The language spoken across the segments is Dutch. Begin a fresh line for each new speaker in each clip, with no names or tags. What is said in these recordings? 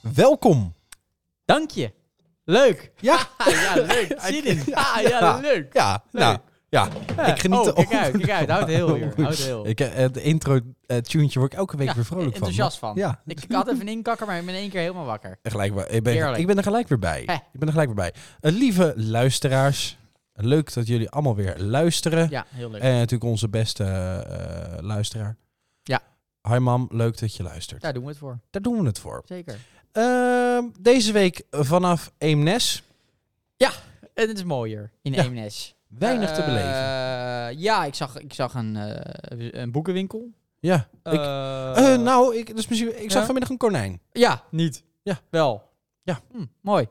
welkom.
Dank je. Leuk.
Ja,
Ja, leuk. Zin in. Ah, ja, leuk.
ja, nou, ja. Ik geniet
oh,
er
kijk uit, kijk uit. Houd heel hier. Houd heel.
Ik, eh, het intro eh tunetje word ik elke week
Ja,
weer vrolijk van.
enthousiast van.
Ja,
Ik, ik had even een inkakker, maar ik ben in één keer helemaal wakker.
En Gelijk, wa- ik, ben,
Heerlijk.
ik ben er gelijk weer bij.
Hè.
Ik ben er gelijk weer bij. Eh, lieve luisteraars, leuk dat jullie allemaal weer luisteren.
Ja, heel leuk.
En natuurlijk onze beste eh, luisteraar.
Ja.
Hi mam, leuk dat je luistert.
Daar doen we het voor.
Daar doen we het voor.
Zeker.
Ehm, deze week vanaf Eemnes
En het is mooier in
Ja.
Eemnes.
weinig te
Eh,
beleven.
ja, ik zag, ik zag een, eh, een boekenwinkel.
Ja. Ik,
Eh,
eh, nou, ik, dus misschien, ik zag
ja?
vanmiddag een konijn.
Ja, niet.
Ja.
Wel.
Ja.
Hm, mooi.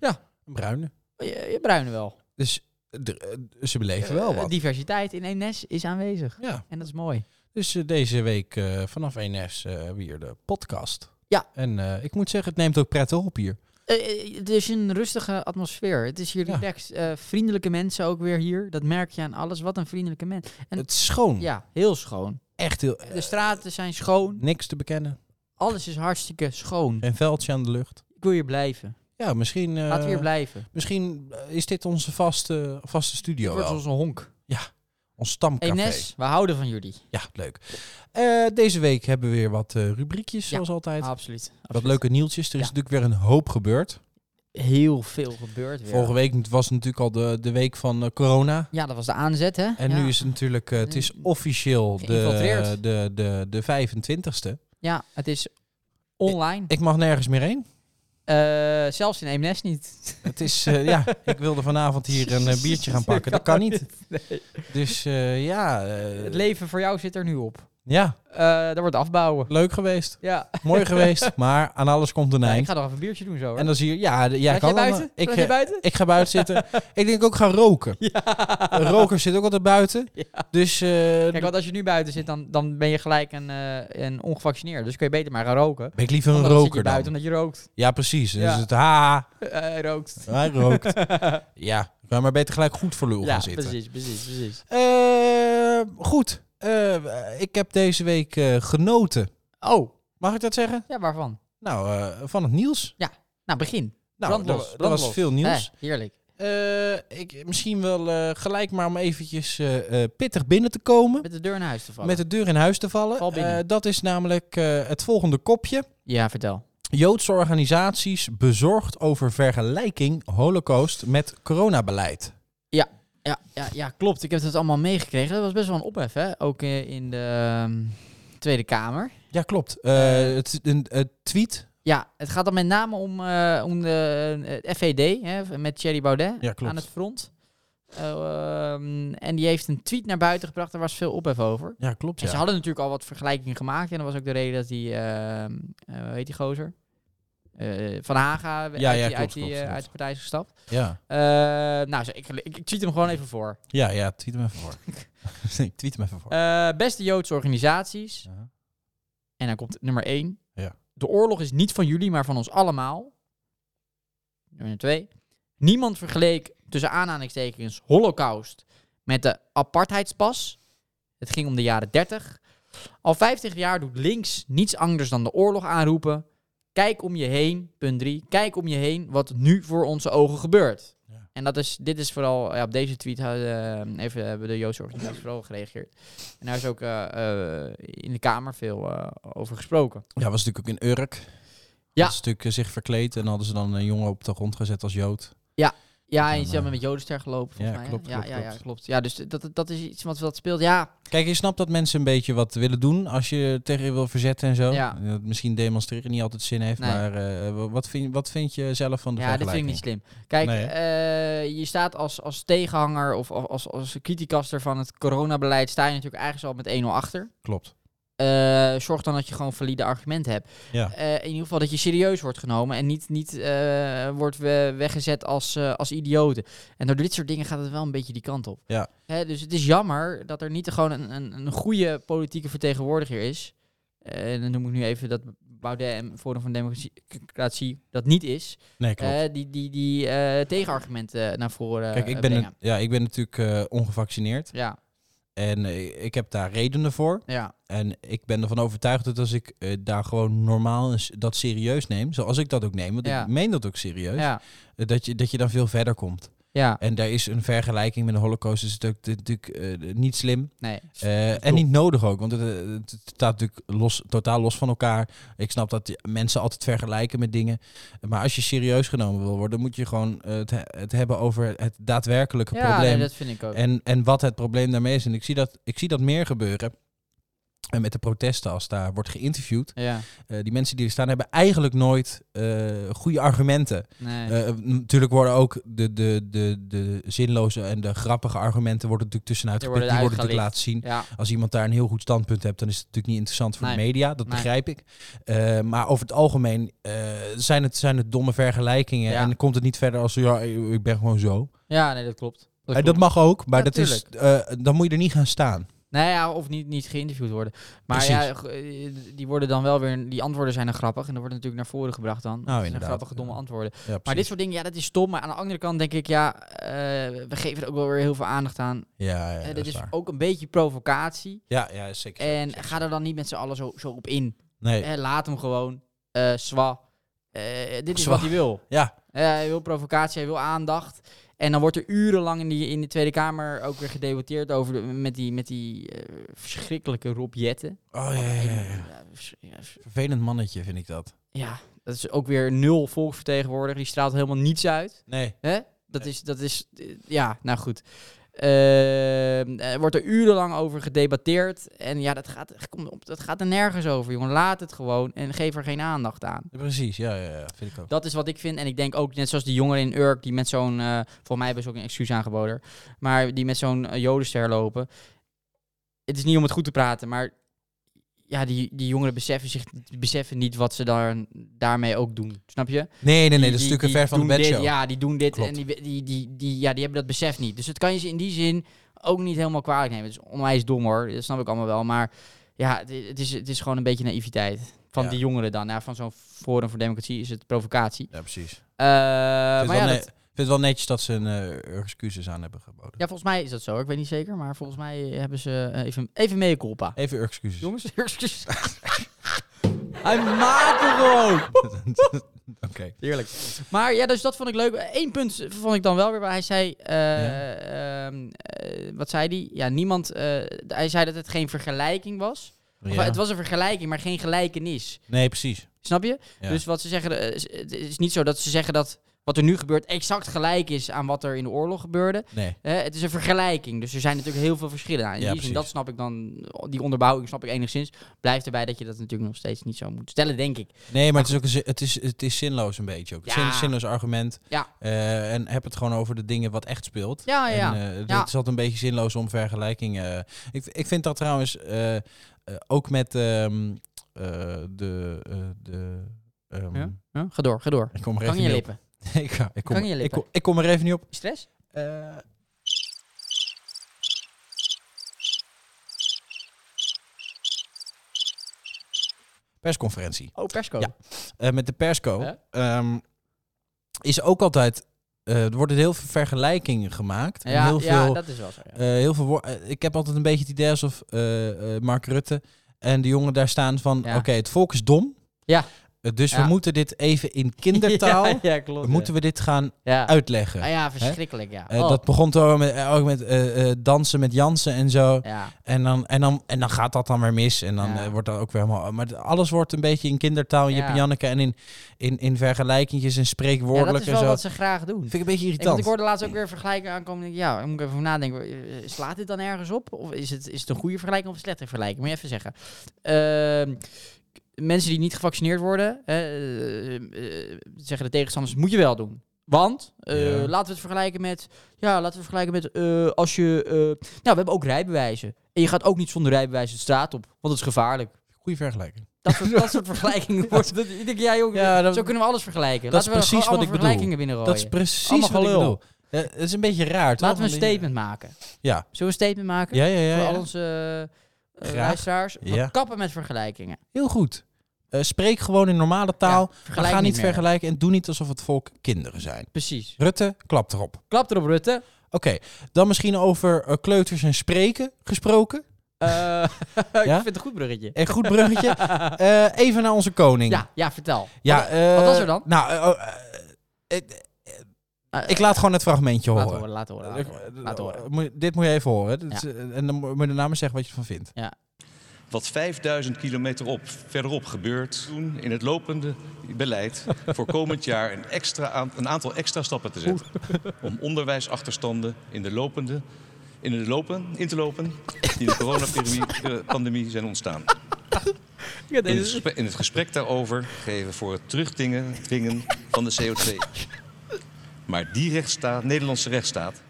Een bruine.
Je, je bruine wel.
Dus eh, d- eh, ze beleven wel
Eh,
wat.
diversiteit in Eemnes is aanwezig.
Ja.
En dat is mooi.
Dus eh, deze week eh, vanaf 1S eh weer de podcast.
Ja.
En eh, ik moet zeggen, het neemt ook prettig op hier.
Eh, eh, het is een rustige atmosfeer. Het is hier
Ja.
relaxed. Eh, vriendelijke mensen ook weer hier. Dat merk je aan alles. Wat een vriendelijke mens. En-
het is schoon.
Ja, heel schoon.
Echt heel... eh,
De straten zijn schoon.
niks te bekennen.
Alles is hartstikke schoon.
Een veldje aan de lucht.
Ik wil hier blijven.
Ja, misschien... eh,
Laten we hier blijven.
misschien eh, is dit onze vaste, vaste
Het
studio
wordt
wel.
ons een honk.
Ons stamcafé.
Enes, we houden van jullie.
Ja, leuk. Eh, deze week hebben we weer wat eh, rubriekjes,
Ja.
zoals altijd.
Absoluut.
wat
absoluut.
leuke nieuwtjes. Er is
Ja.
natuurlijk weer een hoop gebeurd.
Heel veel gebeurd weer.
Vorige week was natuurlijk al de, de week van eh, corona.
Ja, dat was de aanzet, hè?
En
ja.
nu is het natuurlijk, eh, het is officieel de,
Geïnfiltreerd.
de, de, de 25ste.
Ja, het is online.
Ik mag nergens meer heen.
Eh, zelfs in Eemnes niet.
Het is, eh, ja, ik wilde vanavond hier een eh, biertje gaan pakken. Dat kan niet.
Nee.
Dus eh, ja, eh,
Het leven voor jou zit er nu op.
ja,
Eh dat wordt afbouwen.
leuk geweest.
Ja.
Mooi geweest. Maar aan alles komt een
Ja,
eind.
ik ga nog even een biertje doen zo. Hoor.
En dan zie je, ja, de- jij
Blijf
kan
jij
allemaal-
buiten?
Ik,
Blijf
eh,
jij buiten?
ik ga buiten zitten. ik denk ook gaan roken. Een roker zit ook altijd buiten.
Ja.
Dus eh,
Kijk, want als je nu buiten zit, dan, dan ben je gelijk een, eh, een ongevaccineerd. Dus kun je beter maar gaan roken.
ben ik liever een
Want dan zit je
roker
buiten
dan.
omdat je rookt.
Ja, precies. Dus
Ja.
het ha,
Eh rookt.
hij rookt. ja, maar maar beter gelijk goed voor lul
Ja,
gaan zitten.
precies, precies, precies.
Eh, goed. Eh, ik heb deze week eh, genoten.
Oh,
Mag ik dat zeggen?
ja, waarvan?
Nou, eh, van het nieuws.
Nou, begin.
Nou,
Brandlos,
dat
brandlos.
was veel nieuws.
Eh, heerlijk.
Eh, ik, misschien wel eh, gelijk maar om eventjes eh, eh, pittig binnen te komen.
Met de deur naar huis te vallen.
Met de deur in huis te vallen.
Val binnen.
Eh, dat is namelijk eh, het volgende kopje.
Ja, vertel.
Joodse organisaties bezorgd over vergelijking holocaust met coronabeleid.
Ja, ja, ja, klopt. Ik heb dat allemaal meegekregen. Dat was best wel een ophef, hè? Ook eh, in de ehm, Tweede Kamer.
Ja, klopt. Eh,
Eh.
het, een, een tweet.
Ja, het gaat dan met name om, eh, om de, eh, het FVD, hè, met Thierry Baudet
Ja, klopt.
aan het front. Eh, ehm, en die heeft een tweet naar buiten gebracht. Daar was veel ophef over.
Ja, klopt.
En ze hadden natuurlijk al wat vergelijkingen gemaakt. En dat was ook de reden dat die, ehm eh, hoe heet die gozer? Eh, van
Ja,
Haga uit,
ja,
die,
klopt,
uit, die,
klopt,
eh,
klopt.
uit de partij is gestapt.
Ja,
Eh, nou, zo- ik, ik, ik tweet hem gewoon even voor.
ja, ja tweet hem even voor. nee, tweet hem even voor.
Eh, beste Joodse organisaties.
Ja.
En dan komt nummer 1.
Ja.
De oorlog is niet van jullie, maar van ons allemaal. Nummer 2. Niemand vergeleek tussen aanhalingstekens holocaust met de apartheidspas. Het ging om de jaren 30. Al 50 jaar doet links niets anders dan de oorlog aanroepen. Kijk om je heen, punt 3. Kijk om je heen wat nu voor onze ogen gebeurt.
Ja.
En dat is, dit is vooral, ja, op deze tweet eh, even, hebben de Joodse organisaties vooral gereageerd. En daar is ook eh, eh, in de Kamer veel eh, over gesproken.
Ja, was natuurlijk ook in Urk.
Ja.
Had ze natuurlijk eh, zich verkleed en hadden ze dan een jongen op de grond gezet als Jood.
Ja,
Dan,
en ze hebben
eh,
met Jodenster gelopen, volgens
ja,
mij.
klopt,
ja,
klopt,
ja, ja,
klopt.
klopt. Ja, dus dat, dat is iets wat, wat speelt. Ja,
Kijk, je snapt dat mensen een beetje wat willen doen als je tegen je wil verzetten en zo.
Ja.
En Dat misschien demonstreren niet altijd zin heeft,
Nee.
maar eh, wa- wat, vind, wat vind je zelf van de
ja dat vind ik niet
vergelijking?
slim. Kijk,
Nee,
eh, je staat als, als tegenhanger of als, als, als criticaster van het coronabeleid... sta je natuurlijk eigenlijk al met 1-0 achter.
Klopt.
Eh, zorg dan dat je gewoon valide argumenten hebt.
Ja.
Eh, in ieder geval dat je serieus wordt genomen en niet, niet eh, wordt we- weggezet als, eh, als idioten. En door dit soort dingen gaat het wel een beetje die kant op.
Ja.
Hè, dus het is jammer dat er niet gewoon een, een, een goede politieke vertegenwoordiger is. Eh, en dan noem ik nu even dat Baudet en Forum van Democratie Democratie dat niet is.
Nee, klopt.
Eh, die die, die eh, tegenargumenten naar voren
Kijk, ik
eh,
ben,
brengen.
een- ja, ik ben natuurlijk eh, ongevaccineerd.
Ja,
En eh, ik heb daar redenen voor.
Ja.
En ik ben ervan overtuigd dat als ik eh, daar gewoon normaal en s- dat serieus neem, zoals ik dat ook neem, want
Ja.
ik meen dat ook serieus,
Ja.
eh, dat, je, dat je dan veel verder komt.
Ja.
En daar is een vergelijking met de holocaust is natuurlijk, natuurlijk eh, niet slim.
Nee.
Eh, en niet nodig ook, want het, eh, het staat natuurlijk los, totaal los van elkaar. Ik snap dat die mensen altijd vergelijken met dingen. Maar als je serieus genomen wil worden, moet je gewoon eh, het, he- het hebben over het daadwerkelijke
Ja,
probleem.
nee, dat vind ik ook.
en, en wat het probleem daarmee is. En ik zie dat, ik zie dat meer gebeuren. En met de protesten, als daar wordt geïnterviewd.
Ja.
eh, die mensen die er staan, hebben eigenlijk nooit eh, goede argumenten.
Nee.
Eh, natuurlijk worden ook de, de, de, de zinloze en de grappige argumenten worden natuurlijk tussenuit
Die
gepikt. Die
worden
worden natuurlijk
uitgelicht.
laten zien
ja.
als iemand daar een heel goed standpunt hebt, dan is het natuurlijk niet interessant voor de
Nee.
media. Dat
Nee.
begrijp ik. Eh, maar over het algemeen eh, zijn, het, zijn het domme vergelijkingen.
Ja.
En komt het niet verder als ja, ik ben gewoon zo.
Ja, nee, dat klopt. Dat
Dat,
klopt.
Eh, dat mag ook, maar dat is, eh, dan moet je er niet gaan staan.
Nou ja, of niet, niet geïnterviewd worden. Maar
Precies.
ja, g- eh, die worden dan wel weer. Die antwoorden zijn dan grappig. En dat wordt natuurlijk naar voren gebracht dan. Dat zijn
Nou, inderdaad.
Grappige, domme
Ja.
antwoorden.
Ja,
Maar dit
precies.
soort dingen, ja, dat is stom. Maar aan de andere kant denk ik, ja, eh, we geven er ook wel weer heel veel aandacht aan.
ja, ja,
Eh,
dat
dit
is
is
waar.
ook een beetje provocatie.
ja, ja, zeker.
En ga er dan niet met z'n allen zo, zo op in.
Nee,
Eh, laat hem gewoon. Eh zwa. Eh, dit is
Zwa.
wat hij wil.
ja,
Eh, hij wil provocatie, hij wil aandacht. En dan wordt er urenlang in, die, in de Tweede Kamer ook weer gedebatteerd over de, met die, met die eh, verschrikkelijke Rob Jetten.
oh ja, ja, ja, ja.
Ja, vers- ja, vers-
Vervelend mannetje vind ik dat.
ja, dat is ook weer nul volksvertegenwoordiger. Die straalt helemaal niets uit.
Nee,
Hè? Dat is, dat is, eh, ja, nou goed. Ehm, er wordt er urenlang over gedebatteerd. En ja, dat gaat, kom op, dat gaat er nergens over, jongen. Laat het gewoon en geef er geen aandacht aan.
precies. Ja, ja, ja, vind ik ook.
Dat is wat ik vind. En ik denk ook, net zoals die jongeren in Urk, die met zo'n... eh volgens mij hebben ze ook een excuus aangeboden. Maar die met zo'n eh, jodenster lopen. Het is niet om het goed te praten, maar... Ja, die, die jongeren beseffen, zich, beseffen niet wat ze daar, daarmee ook doen. Snap je?
Nee, nee, nee,
Die-
dat is
die-
natuurlijk een
die
ver van de
doen
bedshow.
dit, Ja, die doen dit
Klopt.
en die, die, die, die, ja, die hebben dat besef niet. Dus dat kan je ze in die zin ook niet helemaal kwalijk nemen. Het is onwijs dom hoor, dat snap ik allemaal wel. Maar ja, het, het is, het is gewoon een beetje naïviteit van
Ja.
die jongeren dan. Ja, van zo'n Forum voor Democratie is het provocatie.
Ja, precies.
Eh,
Ik
maar
vind,
ja,
het wel
dat-
ne- ik vind het wel netjes dat ze een eh, excuses aan hebben geboden.
ja, volgens mij is dat zo. Ik weet niet zeker, maar volgens mij hebben ze eh, even, even mee culpa.
Even excuses.
Jongens, excuus. Hij maakt er gewoon.
Oké.
Heerlijk. Maar ja, dus dat vond ik leuk. Eén punt vond ik dan wel weer waar hij zei... eh, ehm, eh, wat zei hij? Ja, niemand... eh, hij zei dat het geen vergelijking was. Of,
Ja.
het was een vergelijking, maar geen gelijkenis.
Nee, precies.
Snap je?
Ja.
Dus wat ze zeggen... eh, is- het is niet zo dat ze zeggen dat wat er nu gebeurt... exact gelijk is aan wat er in de oorlog gebeurde.
Nee.
Hè, het is een vergelijking, dus er zijn natuurlijk heel veel verschillen. Nou, in
Ja,
die zin,
precies.
dat snap ik dan, die onderbouwing snap ik enigszins. Blijft erbij dat je dat natuurlijk nog steeds niet zo moet stellen, denk ik.
Nee, maar het is ook een zin- het is, het is zinloos een beetje ook. Het is
Ja.
een zinloos argument.
Ja.
Eh, en heb het gewoon over de dingen wat echt speelt.
Ja, ja, Ah, ja.
En, eh,
Ja.
Het is altijd een beetje zinloos om vergelijkingen. Ik, ik vind dat trouwens eh, eh, ook met ehm, eh, de. eh, de ehm,
Ja? Huh? Ga door, ga door.
Ik kom er
Kan
even
in je
niet op.
lippen.
ik, ga- ik, kom,
Kan in je
ik,
lippen.
kom, ik kom er even niet op.
Stress?
Eh, persconferentie.
Oh, persco.
Ja. Eh, met de persco.
Ja.
ehm, is ook altijd. eh, er worden heel veel vergelijkingen gemaakt. en
Ja,
heel
ja,
veel,
dat is wel zo. ja.
eh, heel veel wo- eh, ik heb altijd een beetje het idee alsof eh, eh, Mark Rutte en de jongen daar staan van:
Ja.
oké, het volk is dom.
Ja.
Eh, dus
Ja.
we moeten dit even in kindertaal.
Ja, ja, klopt. ja.
Moeten we dit gaan
ja.
uitleggen?
Ah, ja, verschrikkelijk, ja.
Eh,
Oh,
Dat begon toch ook met, eh, ook met eh, eh, dansen met Jansen en zo.
ja.
En, dan, en, dan, en dan gaat dat dan weer mis. En dan
Ja.
eh, wordt dat ook weer helemaal... Maar d- alles wordt een beetje in kindertaal, in Jip
Ja.
en Janneke... en in, in, in vergelijkingjes en
ja, dat
spreekwoordelijk
is wel
en zo.
wat ze graag doen.
Vind ik een beetje
Ik, want
irritant.
ik hoorde laatst ook weer vergelijken aankomen. denk ik, Ja, daar moet ik even over nadenken. Eh, Slaat dit dan ergens op? Of is het, is het een goede vergelijking of een slechte vergelijking? Moet je even zeggen. Ehm, k- mensen die niet gevaccineerd worden, eh, eh, eh, zeggen de tegenstanders, moet je wel doen. Want, eh,
Ja.
laten we het vergelijken met, ja, laten we het vergelijken met eh, als je, eh, nou, we hebben ook rijbewijzen. En je gaat ook niet zonder rijbewijs de straat op, want het is gevaarlijk.
Goeie vergelijking.
Dat soort, dat soort vergelijkingen wordt. Dat, ik denk, ja, joh,
Ja, dat-
zo kunnen we alles vergelijken.
dat is
Laten we
precies
gewoon allemaal
wat ik bedoel.
vergelijkingen binnenrooien.
Dat is precies
Oh,
wat
Allemaal
ik
gelul.
bedoel. Eh, Het is een beetje raar, toch?
Laten we een
Want die-
statement maken.
Ja.
Zullen we een statement maken?
Ja, ja, ja.
Voor
ja.
al onze eh, eh,
Graag.
luisteraars. We
Ja.
kappen met vergelijkingen.
Heel goed. Eh, spreek gewoon in normale taal.
Ja,
maar
vergelijk
ga niet
meer.
vergelijken en doe niet alsof het volk kinderen zijn.
Precies.
Rutte, klap erop.
Klap erop, Rutte.
dan misschien over eh, kleuters en spreken gesproken.
Eh, ik
Ja?
vind het een goed bruggetje.
Een goed bruggetje. Eh, even naar onze koning.
Ja, ja vertel.
Ja,
Wat-
eh,
wat was er dan?
Nou, eh, oh, eh, eh,
eh,
ik Oh. laat gewoon het fragmentje
laat
horen. eh,
horen, laat horen, laat horen. Laat horen.
Moet je- Dit moet je even horen. Dit
Ja.
is, eh, en dan moet je daarna maar zeggen wat je ervan vindt.
Wat 5000 kilometer op, verderop gebeurt, doen in het lopende beleid voor komend jaar een, extra aan- een aantal extra stappen te zetten. Om onderwijsachterstanden in de lopende, in de lopen, in te lopen die in de coronapandemie zijn ontstaan.
Ja,
In het,
deze-
gesprek, in het gesprek daarover geven voor het terugdingen dwingen van de CO2. Maar die rechtsstaat, Nederlandse rechtsstaat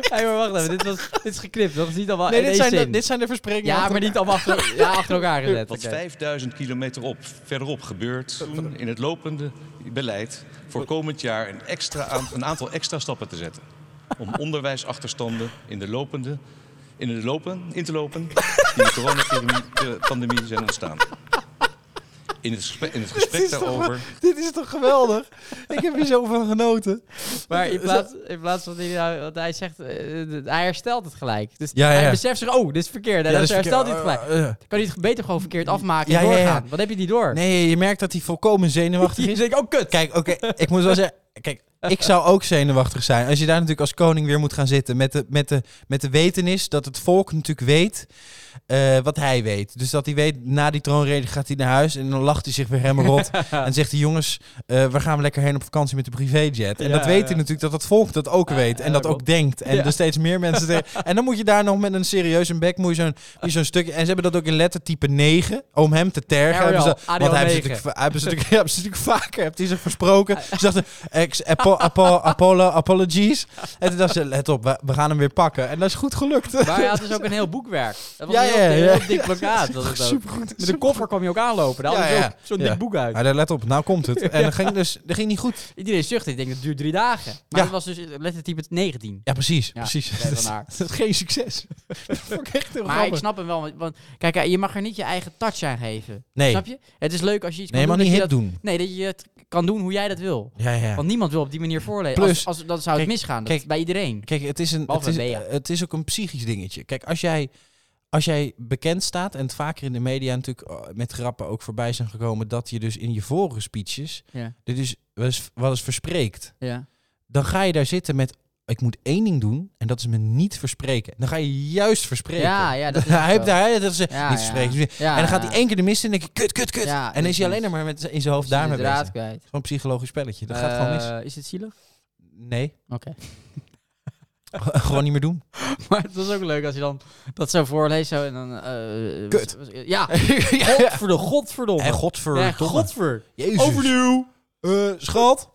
Hey, maar wacht even, dit, was, dit is geknipt. Dat is niet allemaal
Nee,
in
dit
één
zijn, de,
zin.
dit zijn de versprekingen.
ja,
achter
maar niet allemaal achter, ja, achter elkaar gezet.
Wat
oké.
5000 kilometer op, verderop gebeurt toen in het lopende beleid voor komend jaar een, extra aan- een aantal extra stappen te zetten. Om onderwijsachterstanden in de lopende, in de lopen, in te lopen die in de coronapandemie zijn ontstaan. In het gesprek, in het gesprek
is toch
daarover
Dit is toch geweldig? ik heb hier zo van genoten.
Maar in plaats, in plaats van die, nou, wat hij zegt, eh, d- hij herstelt het gelijk. Dus
Ja, ja, ja.
hij beseft zich, oh, dit is verkeerd. En
Ja, dus
dus hij herstelt
verkeer-
dit gelijk.
eh, eh.
Kan hij het beter gewoon verkeerd afmaken
Ja,
en
ja, ja.
doorgaan? Wat heb je die door?
Nee, je merkt dat hij volkomen zenuwachtig
Die
is.
denk ik, oh kut.
Kijk, oké, ik moet wel zeggen. Kijk, ik zou ook zenuwachtig zijn. Als je daar natuurlijk als koning weer moet gaan zitten. Met de, met de, met de wetenis dat het volk natuurlijk weet eh, wat hij weet. Dus dat hij weet, na die troonrede gaat hij naar huis. En dan lacht hij zich weer helemaal rot. en zegt hij, jongens, eh, we gaan lekker heen op vakantie met de privéjet. En
Ja,
dat weet
ja.
hij natuurlijk dat het volk dat ook
Ja,
weet.
ja,
En dat
dat
ook denkt. En
Ja.
er steeds meer mensen tegen. En dan moet je daar nog met een serieus een bek, moet je zo'n moet je zo'n stukje... En ze hebben dat ook in lettertype 9, om hem te tergen.
Arial,
Hebben ze- want
Arial
hij heeft
9.
natuurlijk hij hebben ze natuurlijk, ja, hebben ze natuurlijk vaker heeft hij zich versproken. Ze dachten, ex, apo, apo, apollo, apologies. En toen dacht ze, let op, we, we gaan hem weer pakken. En dat is goed gelukt.
Maar hij had dus ook een heel boekwerk. Dat was
Ja,
een heel,
ja,
een
ja.
heel dik plakkaat. was het ook.
Supergoed.
Met een koffer kwam je ook aanlopen. Daar
Ja,
had hij
ja.
ook zo'n
Ja.
dik boek uit.
Hij dacht, let op, nou komt het. En dat ging, dus, dat ging niet goed.
Iedereen zuchtte. Ik denk, dat duurt drie dagen. Maar
Ja.
dat was dus lettertype 19.
Ja, precies.
Ja,
precies.
oké,
Dat is-
vandaar.
dat is geen succes. Dat vond ik echt heel
Maar ik
grappig.
snap hem wel. want- Want kijk, eh, je mag er niet je eigen touch aan geven.
Nee,
Snap je? Het is leuk als je iets
nee
kan
maar
doen.
niet hip
dat je
doen.
dat, nee, dat je het kan doen hoe jij dat wil.
Ja, ja.
Want niemand wil op die manier voorlezen.
Plus-
als, als, dan zou het
kijk,
misgaan. Dat
kijk,
is bij iedereen.
Kijk, het is, een, het,
Behalve
is,
Bea.
het is ook een psychisch dingetje. Kijk, als jij, als jij bekend staat en het vaker in de media natuurlijk eh, met grappen ook voorbij zijn gekomen, dat je dus in je vorige speeches
Ja.
dit is wel eens, wel eens verspreekt,
Ja.
dan ga je daar zitten met ik moet één ding doen en dat is me niet verspreken. Dan ga je juist verspreken.
Ja, ja, dat is ook
hij heeft
zo.
daar dat is eh,
Ja,
niet
ja.
verspreken.
Ja,
en dan gaat
ja.
hij één keer de mist in en denk je kut, kut, kut.
Ja,
en dan is hij
precies.
alleen maar met, in zijn hoofd
Is hij de
daarmee
draad
bezig.
kwijt.
Zo'n psychologisch spelletje. Dat gaat gewoon mis.
Eh, Is het zielig?
Nee,
Oké.
gewoon niet meer doen.
Maar het was ook leuk als je dan dat zo voorleest zo en dan... eh,
Kut.
was- was- ja,
ja.
godverde, godverdomme.
En
Ja,
godverdomme.
godver.
Jezus.
Overnieuw.
Eh, schat?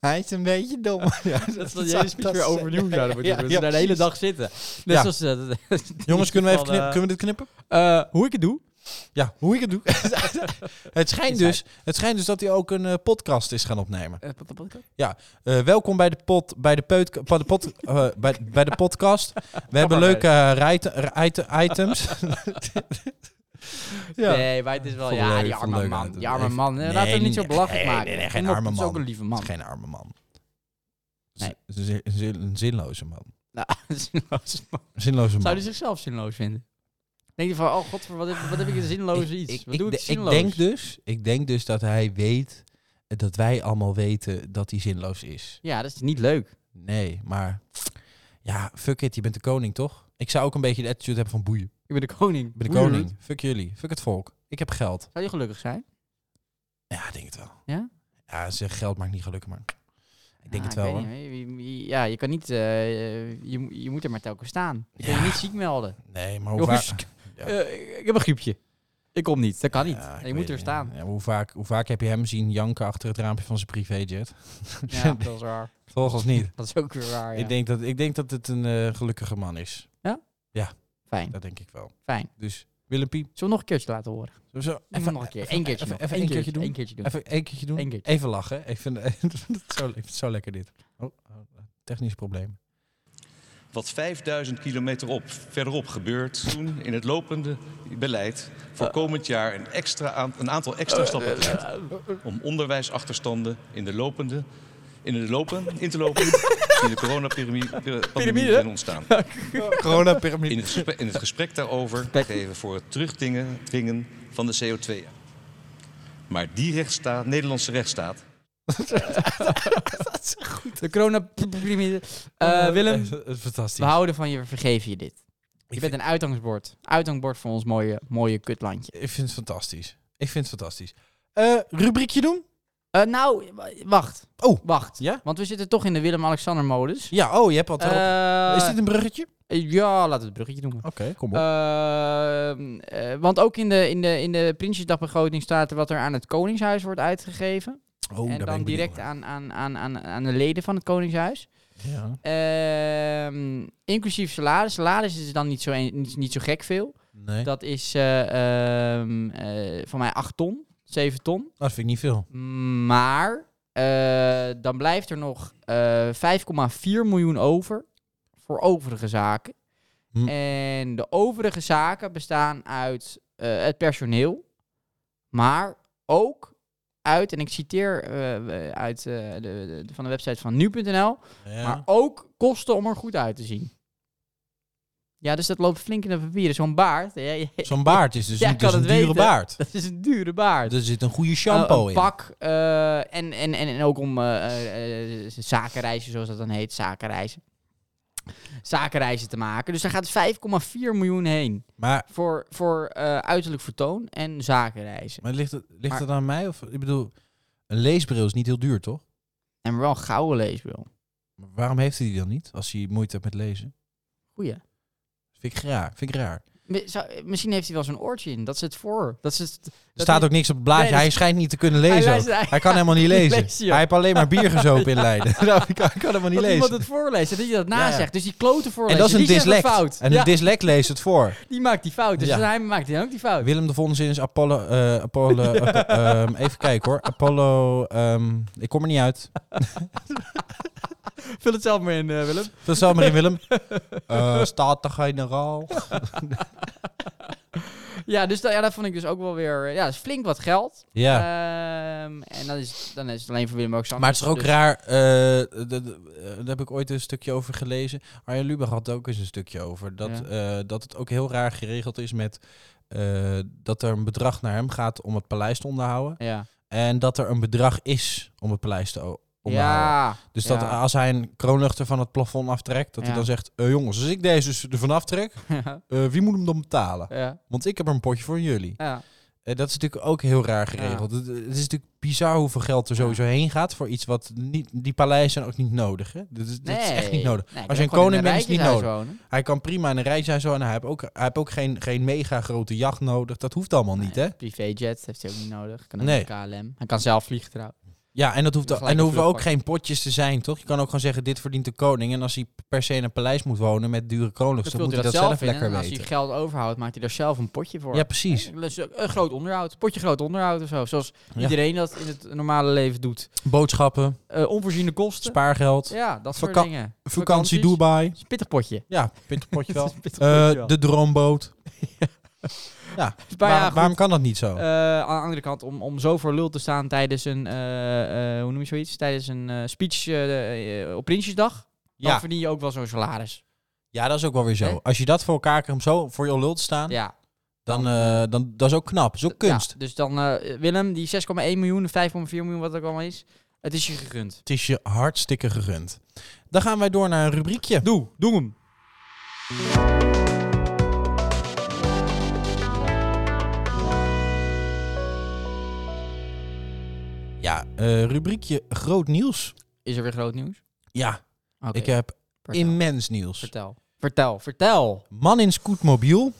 Hij is een beetje dom. Ja,
Dat
zou-
is dat je hele speech weer
zou-
overnieuw
ja,
zouden moeten
ja,
doen. Dat
ja,
ze daar de hele
precies.
dag zitten. Net
Ja.
zoals, eh, dat-
Jongens, kunnen we, even
Van, eh,
knip, kunnen we dit knippen?
eh, hoe ik het doe?
Ja, hoe ik het doe. het, schijnt dus, het schijnt dus dat hij ook een eh, podcast is gaan opnemen.
Eh, pod- pod- podcast?
Eh, welkom bij de, pot, bij, de peut, bij, de pot, eh, bij, bij de podcast. We hebben
maar
leuke eh, rite- eh, ite- items. ja.
Nee, maar het is wel...
Vond
Ja,
leuk,
die
vond
arme
leuk
man.
dat
Die
het
arme
even-
man. Eh,
Nee,
Laten we hem niet zo
nee,
belachelijk
nee,
maken.
nee, nee, geen
Kom op,
arme
Het is ook
man.
een lieve man.
Het is geen arme man.
Nee.
Het is Een, zin- een zin- een zinloze man.
Nou, zinloos man.
Een zinloze man.
Zou hij zichzelf zinloos vinden? Denk je van, oh god, wat heb, wat heb ik een zinloze iets? wat doe ik,
de-
zinloos?
denk dus, ik denk dus dat hij weet eh, dat wij allemaal weten dat hij zinloos is.
Ja, dat is niet leuk.
Nee, maar ja, fuck it, je bent de koning toch? Ik zou ook een beetje de attitude hebben van boeien.
Ik ben de koning.
Ik ben de
Boeien.
koning. Fuck jullie. Fuck het volk. Ik heb geld.
Zou je gelukkig zijn?
Ja, ik denk het wel.
Ja?
Ja, zeg geld maakt niet gelukkig, maar ik denk
Ah,
het wel.
weet
hoor.
niet, hè. Je- je- Ja, je kan niet... eh, je, mo- je moet er maar telkens staan. Je kan
Ja.
je niet ziek melden.
Nee, maar hoe
Jongens,
vaak... Ja.
eh, ik- ik heb een griepje. Ik kom niet. Dat kan niet.
Ja, ik
je
weet
moet er
het
staan.
niet. Ja, maar hoe, vaak, hoe vaak heb je hem zien janken achter het raampje van zijn privéjet?
Ja, dat is waar.
Volgens niet.
Dat is ook weer waar, ja.
Ik, denk dat, ik denk dat het een eh, gelukkige man is.
Fijn,
Dat denk ik wel.
fijn.
Dus Willempie,
Zullen we nog een keertje laten horen? Doe
zullen we zo
hem nog een keer. Eén keertje
even,
nog.
even
Eén
een keertje doen.
Eén keertje doen.
Even één keertje doen.
Eén keertje.
Even lachen. Ik vind ik vind het zo, ik vind het zo lekker dit. Oh, oh, technisch probleem.
Wat 5000 kilometer op, verderop gebeurt, doen in het lopende beleid voor komend jaar een,
eh,
extra aan, een aantal extra stappen te zetten. Om onderwijsachterstanden in de lopende, in de lopen, in te lopen die in de coronapandemie zijn ontstaan. In
Corona-pyramide.
het, gesprek, in het gesprek daarover geven voor het terugdringen dringen van de CO2. -en. Maar die rechtsstaat, Nederlandse rechtsstaat,
De coronapyramide.
Oh,
Eh Willem, we
Fantastisch.
houden van je, we vergeven je dit. Je
Ik
bent
vind-
een uithangbord. Uithangbord voor ons mooie, mooie kutlandje.
Ik vind het fantastisch. Ik vind het fantastisch. Eh, rubriekje doen?
Eh, nou, w- wacht.
Oh.
Wacht.
Ja?
Want we zitten toch in de Willem-Alexander-modus.
Ja, oh, je hebt al erop.
Eh,
Is dit Oh. een bruggetje?
eh, Ja, laten we het bruggetje doen.
Oké, kom
Ehm, eh, want ook in de, in de, in de Prinsjesdagbegroting staat wat er aan het Koningshuis wordt uitgegeven.
oh,
eh, en
daar ben
dan
ik
direct
benieuwd
aan, aan, aan, aan, aan de leden van het Koningshuis.
naar. Ja.
Ehm, inclusief salaris. Salaris is dan niet zo, een- niet, niet zo gek veel.
Nee, dat...
Dat is eh, ehm, eh, van mij 8 ton, 7 ton.
vind ik niet veel.
Maar eh, dan blijft er nog eh, 5,4 miljoen over voor overige zaken.
Hm.
En de overige zaken bestaan uit eh, het personeel, maar ook uit, en ik citeer eh, uit, eh, de, de- de- van de website van nu.nl,
Ja.
maar ook kosten om er goed uit te zien. Ja, dus dat loopt flink in de papieren. Zo'n baard, ja, ja,
Zo'n baard is dus
Jij
een, dat is
kan
een
het
dure
weten.
baard.
dat is een dure baard.
Er zit een goede
Eh,
shampoo
een
in.
pak. eh, en, en, en, en ook om eh, eh, eh, zakenreizen, zoals dat dan heet, zakenreizen. Zakenreizen te maken. Dus daar gaat 5,4 miljoen heen.
Maar,
Voor, voor eh, uiterlijk vertoon en zakenreizen.
maar ligt, het, ligt
Maar-
het aan mij? Of, ik bedoel, een leesbril is niet heel duur, toch?
En wel een gouden leesbril.
Maar waarom heeft hij die dan niet, als hij moeite hebt met lezen?
Goeie.
Vind ik raar. Vind ik raar.
Mi- zou- Misschien heeft hij wel zo'n oortje in. Dat is het voor. Dat is het,
Er staat ook niks op het blaadje.
Nee, dat-
hij schijnt niet te kunnen lezen. ook.
leest- hij-
Hij kan helemaal niet
Hij
lezen.
leest, joh.
Hij heeft alleen maar bier gezopen in Leiden. hij kan, hij kan helemaal niet
dat iemand
lezen.
het voorleest. en Dat je dat
Ja, ja.
nazegt. Dus die klote
En
voorlezen.
dat is een
die zegt
dyslect.
fout.
En
ja,
een dyslect leest het voor.
die maakt die fout. Dus
Ja.
hij maakt die ook die fout.
Willem de Vonzin is Apollo... eh, Apollo eh, ehm, even kijken hoor. Apollo... ehm, ik kom er niet uit.
Vul het zelf maar in, eh, Willem.
Dat zal maar in Willem. Eh Staten-generaal.
Ja, dus dat, ja, dat vond ik dus ook wel weer... eh, Ja, dat is flink wat geld.
Ja.
Ehm, en dan is, dan is het alleen voor Willem ook zo.
Maar het is toch ook
Dus-
raar, eh, d- d- eh, daar heb ik ooit een stukje over gelezen. Arjen Lubach had er ook eens een stukje over. Dat,
Ja.
eh, dat het ook heel raar geregeld is met eh, dat er een bedrag naar hem gaat om het paleis te onderhouden.
Ja.
En dat er een bedrag is om het paleis te o- onderhouden.
Ja.
Dus dat
ja.
als hij een kroonluchter van het plafond aftrekt, dat
Ja.
hij dan zegt... "Eh, jongens, als ik deze dus ervan aftrek,
ja.
eh, wie moet hem dan betalen?
Ja.
Want ik heb er een potje voor jullie.
Ja.
Eh, dat is natuurlijk ook heel raar geregeld. Het, het is natuurlijk bizar hoeveel geld er
Ja.
sowieso heen gaat voor iets wat niet. Die paleizen zijn ook niet nodig. Hè? Dit, is, dit is echt niet nodig.
Nee, ik
Als
wil
je een
gewoon in
koning bent, is het niet
rijtjeshuis
nodig.
wonen.
Hij kan prima in een rij zijn zo en hij heeft ook, hij heeft ook geen, geen mega grote jacht nodig. Dat hoeft allemaal niet, hè?
Nee, Privéjet heeft hij ook niet nodig. Kan ook
Nee.
met KLM. Hij kan zelf vliegen trouwens.
Ja, en dat hoeft
Je
al,
moet
en er
gelijk
hoeven
een
ook
vlucht
geen potjes te zijn, toch? Je kan ook gewoon zeggen: dit verdient de koning. En als hij per se in een paleis moet wonen met dure koninklijks,
Dus
dan
vult
moet
hij
hij
dat zelf, in.
lekker
en als
weten.
hij geld overhoudt, maakt hij daar zelf een potje voor.
Ja, precies.
Dus een groot onderhoud. Potje groot onderhoud of zo. Zoals
Ja.
iedereen dat in het normale leven doet.
Boodschappen,
Eh, onvoorziene kosten.
spaargeld,
ja, dat soort
Vaka-
dingen.
vakantie
Vakanties.
Dubai.
Spittig potje.
Ja, pitpotje wel.
Spittig potje
Eh dus
wel.
de droomboot. ja,
Maar ja,
waarom-
goed.
waarom kan dat niet zo?
Eh, aan de andere kant, om, om zo voor lul te staan tijdens een, eh, eh, hoe noem je zoiets? Tijdens een eh, speech eh, eh, op Prinsjesdag. Dan
ja.
verdien je ook wel zo'n salaris.
ja, dat is ook wel weer zo.
Hè?
Als je dat voor elkaar krijgt om zo voor je lul te staan,
Ja.
dan, eh, dan dat is ook knap. Dat is ook kunst.
Ja, dus dan, eh, Willem, die 6,1 miljoen, 5,4 miljoen, wat het ook allemaal is. Het is je gegund.
Het is je hartstikke gegund. Dan gaan wij door naar een rubriekje.
Doe, doe hem.
Ja, eh, rubriekje groot nieuws.
Is er weer groot nieuws?
Ja,
Oké,
ik heb
vertel.
immens nieuws.
vertel. Vertel, vertel.
Man in scootmobiel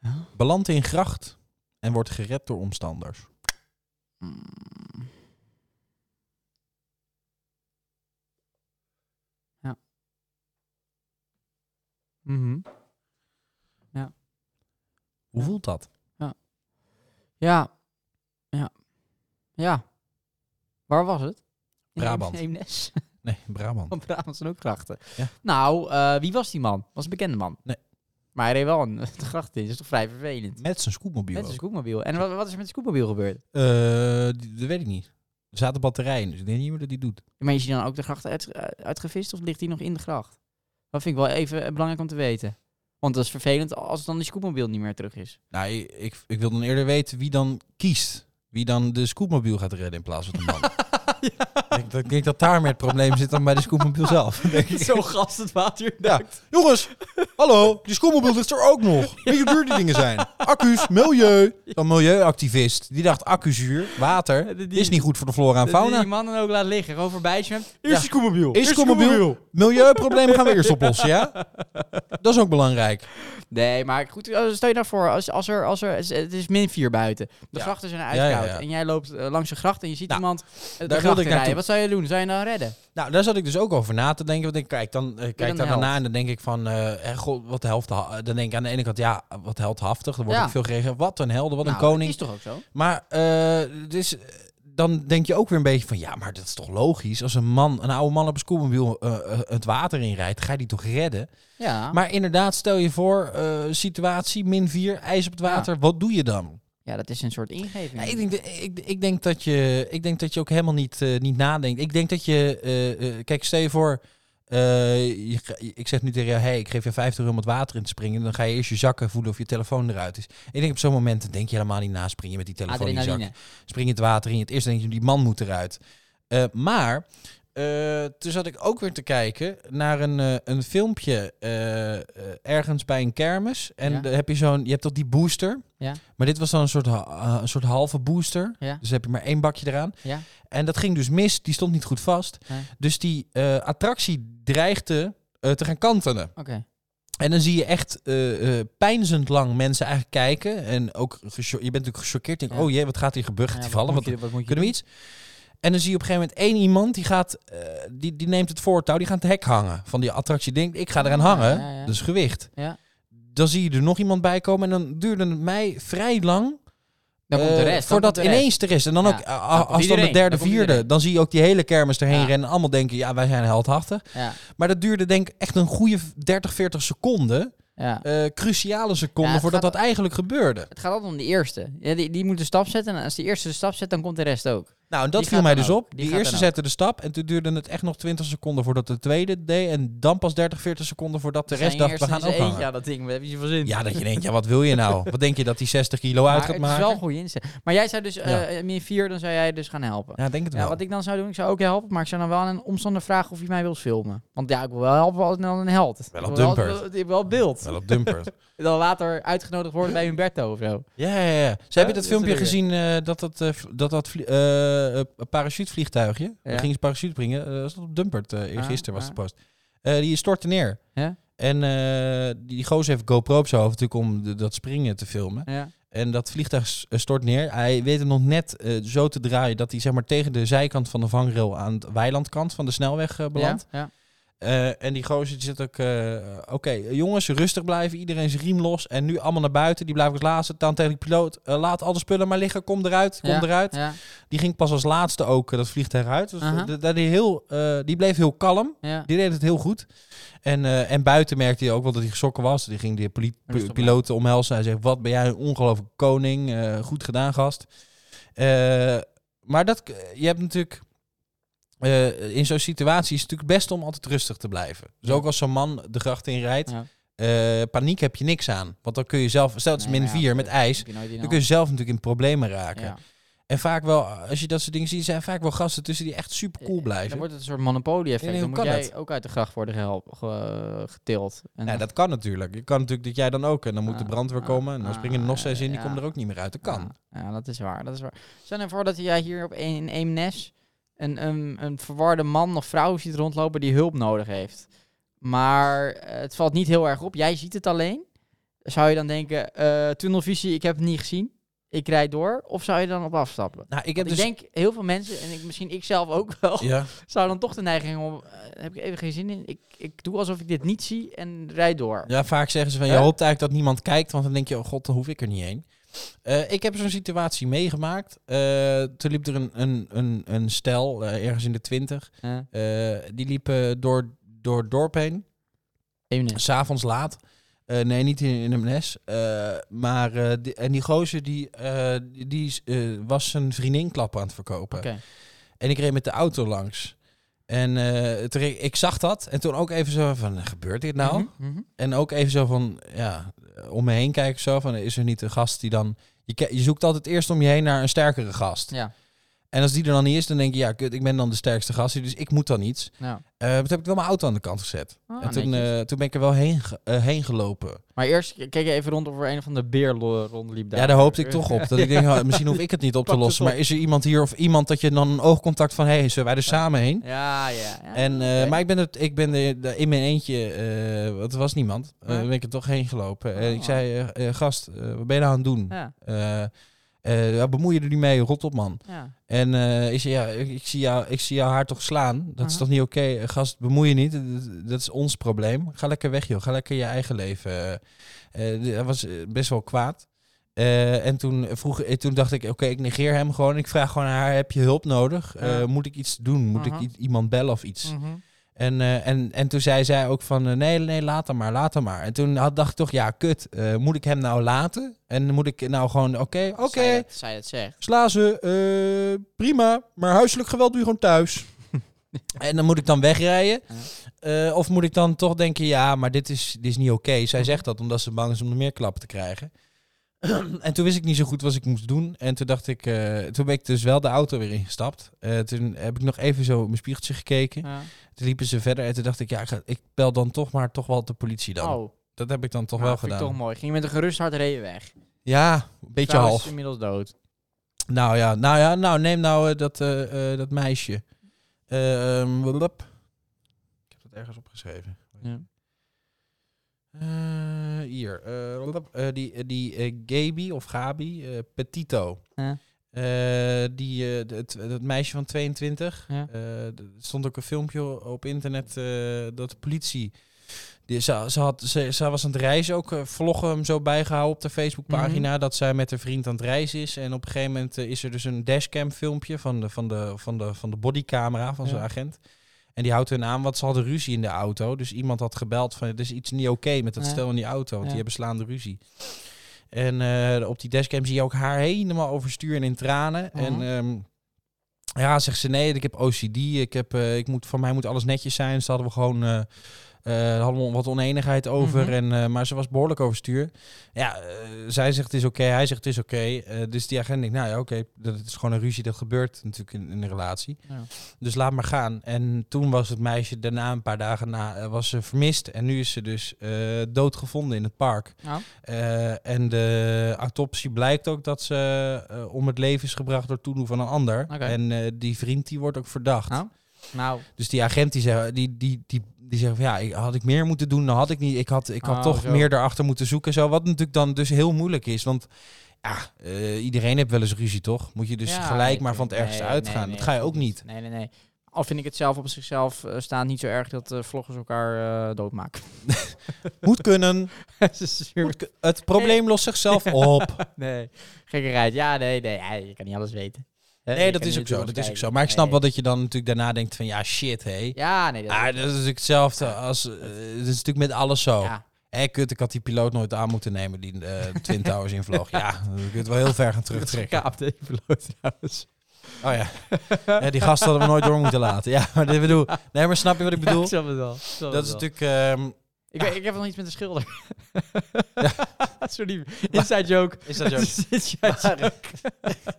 Huh?
belandt in gracht en wordt gered door omstanders.
Mm. Ja. Mhm.
Hoe
Ja.
voelt dat?
Ja. Ja. Ja. Waar was het? In
Brabant.
Eemnes.
Nee, Brabant.
Want Brabant zijn ook grachten.
Ja.
Nou, eh, wie was die man? Was een bekende man.
Nee.
Maar hij reed wel een de gracht in. Dat is toch vrij vervelend.
Met zijn scootmobiel.
Met zijn
ook.
scootmobiel. En wat, wat is er met de scootmobiel gebeurd?
Eh, die- dat weet ik niet. Er zaten batterijen, dus ik denk niet meer dat hij doet.
Maar is hij dan ook de gracht uit, eh, uitgevist of ligt hij nog in de gracht? Dat vind ik wel even eh, belangrijk om te weten. Want dat is vervelend als dan die scootmobiel niet meer terug is.
Nou, ik, ik, ik wil dan eerder weten wie dan kiest. Wie dan de scootmobiel gaat redden in plaats van de man. ik, denk, dat- ik denk dat daar meer het probleem zit dan bij de scootmobiel zelf. denk ik.
Zo gast het water.
Ja. Jongens, hallo, die scootmobiel ligt er ook nog. Weet je hoe duur die dingen zijn? Accu's, milieu. Dan milieuactivist. Die dacht accuzuur, water,
Die-
is niet goed voor de flora en fauna.
Die man dan ook laat liggen. Gewoon voorbij zwemmen.
Ja.
Eerst scootmobiel.
Eerst scootmobiel. Milieuproblemen gaan we eerst oplossen, ja? Dat is ook belangrijk.
Nee, maar goed, eh, stel je nou voor, als, als er, als er, het is min 4 buiten. De
Ja.
grachten zijn
Ja,
uitkoud.
ja, ja.
En jij loopt eh, langs een gracht en je ziet
Nou,
iemand eh, de
wilde
gracht
ik naartoe.
rijden. Wat zou je doen? Zou je nou redden?
Nou, daar zat ik dus ook over na te denken. Want ik kijk, dan, eh,
dan
kijk daar
de
daarna
held?
en dan denk ik van, eh, eh, god, wat helft. Dan denk ik aan de ene kant, ja, wat heldhaftig. Dan word
Ja.
ik veel gereageerd. Wat een helden, wat
Nou,
een koning.
Dat is toch ook zo?
Maar eh, dus, eh, dan denk je ook weer een beetje van, ja, maar dat is toch logisch. Als een man, een oude man op een scootmobiel eh, eh, het water inrijdt, ga je die toch redden?
Ja.
Maar inderdaad, stel je voor, eh, situatie, min 4, ijs op het water. Wat doe je dan?
ja, dat is een soort ingeving.
Ja, ik, denk, dat- ik, ik, denk dat je, ik denk dat je ook helemaal niet, eh, niet nadenkt. Ik denk dat je... eh, eh, kijk, stel je voor... eh, je, ga- ik zeg nu tegen jou... Hey, ik geef je 50 euro om het water in te springen. Dan ga je eerst je zakken voelen of je telefoon eruit is. Ik denk op zo'n moment denk je helemaal niet na. Spring je met die telefoon in je zak.
Adrenaline.
Spring je het water in. Het eerste denk je, die man moet eruit. Eh, maar... eh, toen zat ik ook weer te kijken naar een, eh, een filmpje eh, eh, ergens bij een kermis. En
Ja.
dan heb je zo'n, je hebt toch die booster.
Ja.
Maar dit was dan een soort, ha- eh, een soort halve booster.
Ja.
Dus heb je maar één bakje eraan.
Ja.
En dat ging dus mis. Die stond niet goed vast.
Nee.
Dus die eh, attractie dreigde eh, te gaan kantelen.
Oké.
En dan zie je echt eh, eh, pijnzend lang mensen eigenlijk kijken. En ook gecho- je bent natuurlijk gechoqueerd. Denk,
Ja.
oh jee, wat gaat hier gebeuren? Gaat
Ja,
die vallen?
Wat
Wat,
moet je, wat moet je
kunnen we iets? En dan zie je op een gegeven moment één iemand die gaat, eh, die, die neemt het voortouw, die gaat het hek hangen. Van die attractie denkt, ik ga eraan
Ja,
hangen.
ja, ja.
Dat is gewicht.
Ja.
Dan zie je er nog iemand bij komen. En dan duurde het mij vrij lang
Dan komt de
eh,
rest. dan
voordat
komt de rest.
ineens de rest. En dan
Ja,
ook, eh,
dan komt
als dan
iedereen,
de derde,
dan komt
vierde,
iedereen.
dan zie je ook die hele kermis erheen
Ja.
rennen. Allemaal denken, ja, wij zijn heldhaftig.
Ja.
Maar dat duurde denk ik echt een goede 30, 40 seconden.
Ja.
eh, cruciale seconden
Ja, het
voordat
gaat-
dat eigenlijk gebeurde.
Het gaat altijd om de eerste. Ja, die, die moet de stap zetten. En als de eerste de stap zet, dan komt de rest ook.
Nou, en dat
Die
viel
gaat
mij
dan
dus
ook.
op.
Die
Die,
gaat
eerste
dan ook.
zette de stap en toen duurde het echt nog 20 seconden voordat de tweede deed. En dan pas 30, 40 seconden voordat de rest
Zijn
dacht, we
eerste
gaan
in
ook
zijn
hangen.
eentje, Ja, dat ding. Daar heb je zoveel zin.
Ja, dat je denkt, ja, wat wil je nou? Wat denk je dat die 60 kilo uit
maar
gaat
het is wel een
maken?
goede inzet. Maar jij zou dus, eh min 4, dan zou jij dus gaan helpen.
Ja, denk het
Ja,
wel.
wat ik dan zou doen, ik zou ook helpen, maar ik zou dan wel aan een omstander vragen of je mij wil filmen. Want ja, ik wil wel helpen als dan een held.
Wel
Ik
op
wil wel-
Dumpert.
Ik wil wel beeld.
Wel op Dumpert.
Dan later uitgenodigd worden bij Humberto of zo.
Ja, ja, ja. Ze hebben
dat
dat
is
filmpje
er weer.
gezien eh, dat dat, eh, vl- dat, dat vlie- eh, eh, parachutevliegtuigje. Daar gingen ze parachute springen. eh, was dat op Dumpert eh gisteren was
ah.
de post. Eh, die stortte neer.
Ja.
En eh, die gozer heeft GoPro op zijn hoofd natuurlijk om de- dat springen te filmen.
Ja.
En dat vliegtuig s- eh, stort neer. Hij weet hem nog net eh, zo te draaien dat hij zeg maar tegen de zijkant van de vangrail aan de weilandkant van de snelweg eh, belandt.
Ja, ja.
Eh, en die gozer die zit ook... eh, Oké, jongens, rustig blijven. Iedereen zijn riem los. En nu allemaal naar buiten. Die blijven als laatste. Dan tegen die piloot. eh, laat al de spullen maar liggen. Kom eruit. Kom
Ja,
eruit.
Ja,
Die ging pas als laatste ook eh, dat vliegtuig uit. Dus
Aha.
dat- dat die, heel, eh, die bleef heel kalm.
ja.
Die deed het heel goed. En, eh, en buiten merkte hij ook wel dat hij geschrokken was. Die ging de poli-
Rustig
pi- piloten omhelzen. Hij zegt, wat ben jij een ongelooflijke koning. Eh, goed gedaan, gast. Eh, maar dat, je hebt natuurlijk... eh, in zo'n situatie is het natuurlijk best om altijd rustig te blijven. Dus
Ja.
ook als zo'n man de gracht inrijdt...
Ja.
eh, paniek heb je niks aan. Want dan kun je zelf... Stel, het is
Nee,
min
maar ja,
4 met
dat
ijs.
heb je nooit in
Dan kun
de
je zelf natuurlijk in problemen raken.
hand. Ja.
En vaak wel, als je dat soort dingen ziet... zijn vaak wel gasten tussen die echt super cool blijven.
Eh, Dan wordt het een soort monopolie-effect.
Ja,
Dan
nee,
moet
hoe kan
jij ook uit de gracht worden gehelp, ge- getild. En
Ja, dat kan natuurlijk. Je kan natuurlijk dat jij dan ook. En dan moet
Ah,
de brandweer
ah,
komen. En dan springen er nog
ah,
zes in. Die
ja.
komen er ook niet meer uit. Dat kan.
Ja, ja, dat is waar. Dat is waar. Stel nou voor dat jij hier op een, in Eemnes een, een, een verwarde man of vrouw ziet rondlopen die hulp nodig heeft. Maar eh, het valt niet heel erg op. Jij ziet het alleen. Zou je dan denken, eh, tunnelvisie, ik heb het niet gezien. Ik rijd door. Of zou je dan op afstappen?
Nou, ik heb
Want
dus.
Ik denk heel veel mensen, en ik, misschien ik zelf ook wel,
ja.
zou dan toch de neiging om, eh, heb ik even geen zin in. Ik, ik doe alsof ik dit niet zie en rijd door.
ja, vaak zeggen ze van je
Hè?
hoopt eigenlijk dat niemand kijkt. Want dan denk je, oh god, dan hoef ik er niet heen. Eh, ik heb zo'n situatie meegemaakt. Eh, toen liep er een, een, een, een stel, eh, ergens in de twintig.
Eh,
die liepen door, door het dorp heen.
Eemnes.
S'avonds laat. Eh, nee, niet in, in MS. Eh, maar eh, die- en die gozer die, eh, die, die is, eh, was zijn vriendin klappen aan het verkopen.
Oké.
En ik reed met de auto langs. En eh, toen reed- ik zag dat. En toen ook even zo van, gebeurt dit nou?
Mhm, mhm.
En ook even zo van, ja, om me heen kijken zo. Van, is er niet een gast die dan... Je, ke- je zoekt altijd eerst om je heen naar een sterkere gast.
Ja,
En als die er dan niet is, dan denk je, ja, kut, ik ben dan de sterkste gast hier, dus ik moet dan iets.
ja.
Eh maar toen heb ik wel mijn auto aan de kant gezet.
Ah,
en toen,
netjes.
eh, toen ben ik er wel heen, ge- eh, heen gelopen.
maar eerst keek je even rond of er een van de beer lo- rondliep daar.
ja, daar hoopte ik toch op. Dat ik denk, oh, misschien hoef ik het niet op te
Pak het
lossen.
op.
Maar is er iemand hier of iemand dat je dan een oogcontact van, hé, hey, zullen wij er samen heen?
Ja, ja. ja.
En, eh,
Oké.
Maar ik ben, er, ik ben er, daar in mijn eentje, eh want er was niemand, Eh
Nee.
ben ik er toch heen gelopen. En ik
Oh.
zei, eh, eh, gast, eh, wat ben je nou aan het doen?
ja,
Eh, eh, ja, bemoei je er niet mee, rot op man.
ja.
En eh ik zei, ja, ik, ik zie jou, ik zie jou haar toch slaan. Dat is
Aha.
toch niet oké? Eh, Gast, bemoei je niet. Dat, dat is ons probleem. Ga lekker weg, joh. Ga lekker je eigen leven. Eh, eh, die- hij was eh, best wel kwaad. Eh, en toen, vroeg, eh, toen dacht ik, oké, ik negeer hem gewoon. Ik vraag gewoon aan haar, heb je hulp nodig? Eh,
Ja.
moet ik iets doen? Moet
Aha.
ik i- iemand bellen of iets?
Mhm.
En, eh, en, en toen zei zij ook van, eh, nee, nee, laat hem maar, laat hem maar. En toen had, dacht ik toch, ja, kut. eh, moet ik hem nou laten? En moet ik nou gewoon, oké, oké.
Zij dat- Zij dat zegt.
Sla ze, eh, prima, maar huiselijk geweld doe je gewoon thuis. en dan moet ik dan wegrijden? Eh, of moet ik dan toch denken, ja, maar dit is, dit is niet oké. Zij zegt dat omdat ze bang is om nog meer klappen te krijgen. en toen wist ik niet zo goed wat ik moest doen. En toen dacht ik, eh, toen ben ik dus wel de auto weer ingestapt. Eh, toen heb ik nog even zo op mijn spiegeltje gekeken.
Ja.
Toen liepen ze verder en toen dacht ik, ja, ik, ga- ik bel dan toch maar toch wel de politie dan.
Oh,
Dat heb ik dan toch
nou,
wel
vind ik
gedaan.
toch mooi. Ging je met een gerust hart reden weg.
Ja, een beetje
Vrouw
half.
is inmiddels dood.
Nou ja, nou ja, nou neem nou eh, dat, eh, eh, dat meisje. Ehm, blub. Ik heb dat ergens opgeschreven.
Ja.
Eh, hier, eh, blub. Eh, die, eh, die eh, Gabi of Gabi eh, Petito.
Ja.
Eh, die, eh, dat, dat meisje van 22.
Ja.
Eh, er stond ook een filmpje op internet eh, dat de politie... Die, ze, ze, had, ze, ze was aan het reizen ook. eh, vloggen hem zo bijgehouden op de Facebookpagina.
Mhm.
Dat zij met haar vriend aan het reizen is. En op een gegeven moment eh, is er dus een dashcam filmpje van de, van de, van de, van de bodycamera van zijn
Ja.
agent. En die houdt hun aan, want ze hadden ruzie in de auto. Dus iemand had gebeld van, er is iets niet oké met dat
Ja.
stel in die auto. Want
Ja.
die hebben slaande ruzie. En eh, op die dashcam zie je ook haar helemaal overstuur en in tranen.
Mhm.
En ehm, ja, zegt ze nee, ik heb OCD. Ik heb, eh, ik moet, van mij moet alles netjes zijn. Dus daar hadden we gewoon eh, eh, hadden we wat oneenigheid over.
Mhm.
en, eh, maar ze was behoorlijk overstuur. Ja, eh, zij zegt het is oké, hij zegt het is oké. Eh, dus die agent denkt, nou ja, oké, dat is gewoon een ruzie. Dat gebeurt natuurlijk in, in een relatie.
Ja.
Dus laat maar gaan. En toen was het meisje daarna, een paar dagen na, eh, was ze vermist. En nu is ze dus eh, doodgevonden in het park.
Nou,
Eh, en de autopsie blijkt ook dat ze eh, om het leven is gebracht door toedoen van een ander.
Oké.
En eh, die vriend die wordt ook verdacht.
nou, nou.
Dus die agent die zegt, die, die, die, die zegt van ja, ik, had ik meer moeten doen, dan had ik niet. Ik had, ik had
Oh,
toch
zo.
meer erachter moeten zoeken. Zo, wat natuurlijk dan dus heel moeilijk is. Want ja, eh, iedereen heeft wel eens ruzie, toch? Moet je dus
Ja,
gelijk
nee,
maar van het
nee,
ergste
nee,
uitgaan.
nee,
dat ga je ook niet.
Nee, nee, nee. Al vind ik het zelf op zichzelf eh, staand niet zo erg dat eh, vloggers elkaar eh, doodmaken.
Moet kunnen.
Ze zuur-
Moet ku- het probleem lost zichzelf op.
nee, gekkerheid. Ja, nee, nee. ja, je kan niet alles weten. Hè,
Nee,
je
dat
kan
is ook
niet
zo.
alles
Dat is ook
kijken.
zo. Maar ik snap
Nee.
wel dat je dan natuurlijk daarna denkt van ja, shit, hé.
Ja, nee. Dat
Ah, dat oh, is natuurlijk hetzelfde als... eh, dat is natuurlijk met alles zo.
ja.
Hé, kut, ik had die piloot nooit aan moeten nemen die eh Twin Towers invloog. Ja, dan kun je het wel heel ver gaan terugtrekken.
Gekaapte evenloos trouwens.
Oh ja. ja die gasten hadden we nooit door moeten laten. Ja, maar dit bedoel... Nee, maar snap je wat ik bedoel?
Ik snap het wel. ik snap het
dat is
wel.
natuurlijk... ehm,
Ik, weet- ik heb nog iets met een schilder. Sorry, inside joke.
is dat zo?
Inside joke.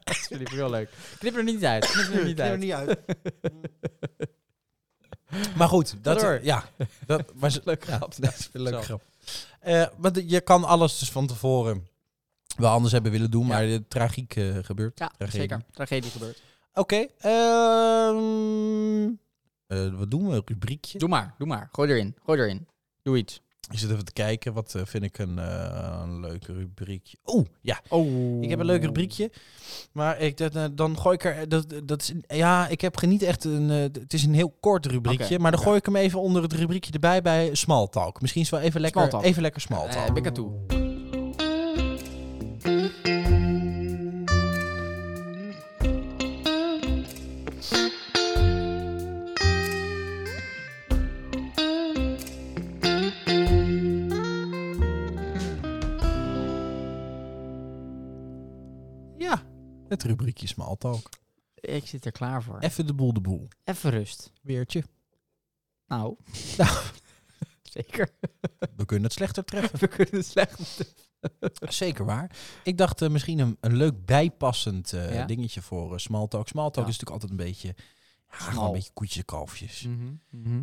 Sorry, heel leuk. Knip er niet uit. Knip er niet uit.
niet uit. maar goed, dat,
Ga door.
ja, dat was
Leuk
ja,
grap.
Dat is een leuke
Zo.
grap. Eh, want je kan alles dus van tevoren wel anders hebben willen doen,
Ja.
maar de tragiek eh, gebeurt.
Ja,
Tragedie.
zeker. Tragedie gebeurt.
Oké, ehm, eh, wat doen we? Een rubriekje?
Doe maar, doe maar. Gooi erin, gooi erin. Doe iets.
Ik zit even te kijken, wat eh, vind ik een, eh, een leuke rubriekje? Oeh, ja,
Oh.
Ik heb een leuk rubriekje. Maar ik, dat, eh, dan gooi ik er. Dat, dat is, ja, ik heb geniet echt een. eh, het is een heel kort rubriekje.
Oké,
maar dan
oké.
gooi ik hem even onder het rubriekje erbij bij Small Talk. Misschien is wel even lekker.
Small talk.
Even lekker Small
Eh,
Talk.
heb ik het toe.
ja, het rubriekje Small Talk.
Ik zit er klaar voor.
Even de boel de boel.
Even rust.
Weertje.
Nou. Zeker.
We kunnen het slechter treffen.
We kunnen het slecht.
Zeker waar. Ik dacht eh, misschien een, een leuk bijpassend eh,
Ja.
dingetje voor eh, Smalltalk. Smalltalk
Ja.
is natuurlijk altijd een beetje, ja, gewoon
Smal. Mm.
een beetje koetjes en kalfjes.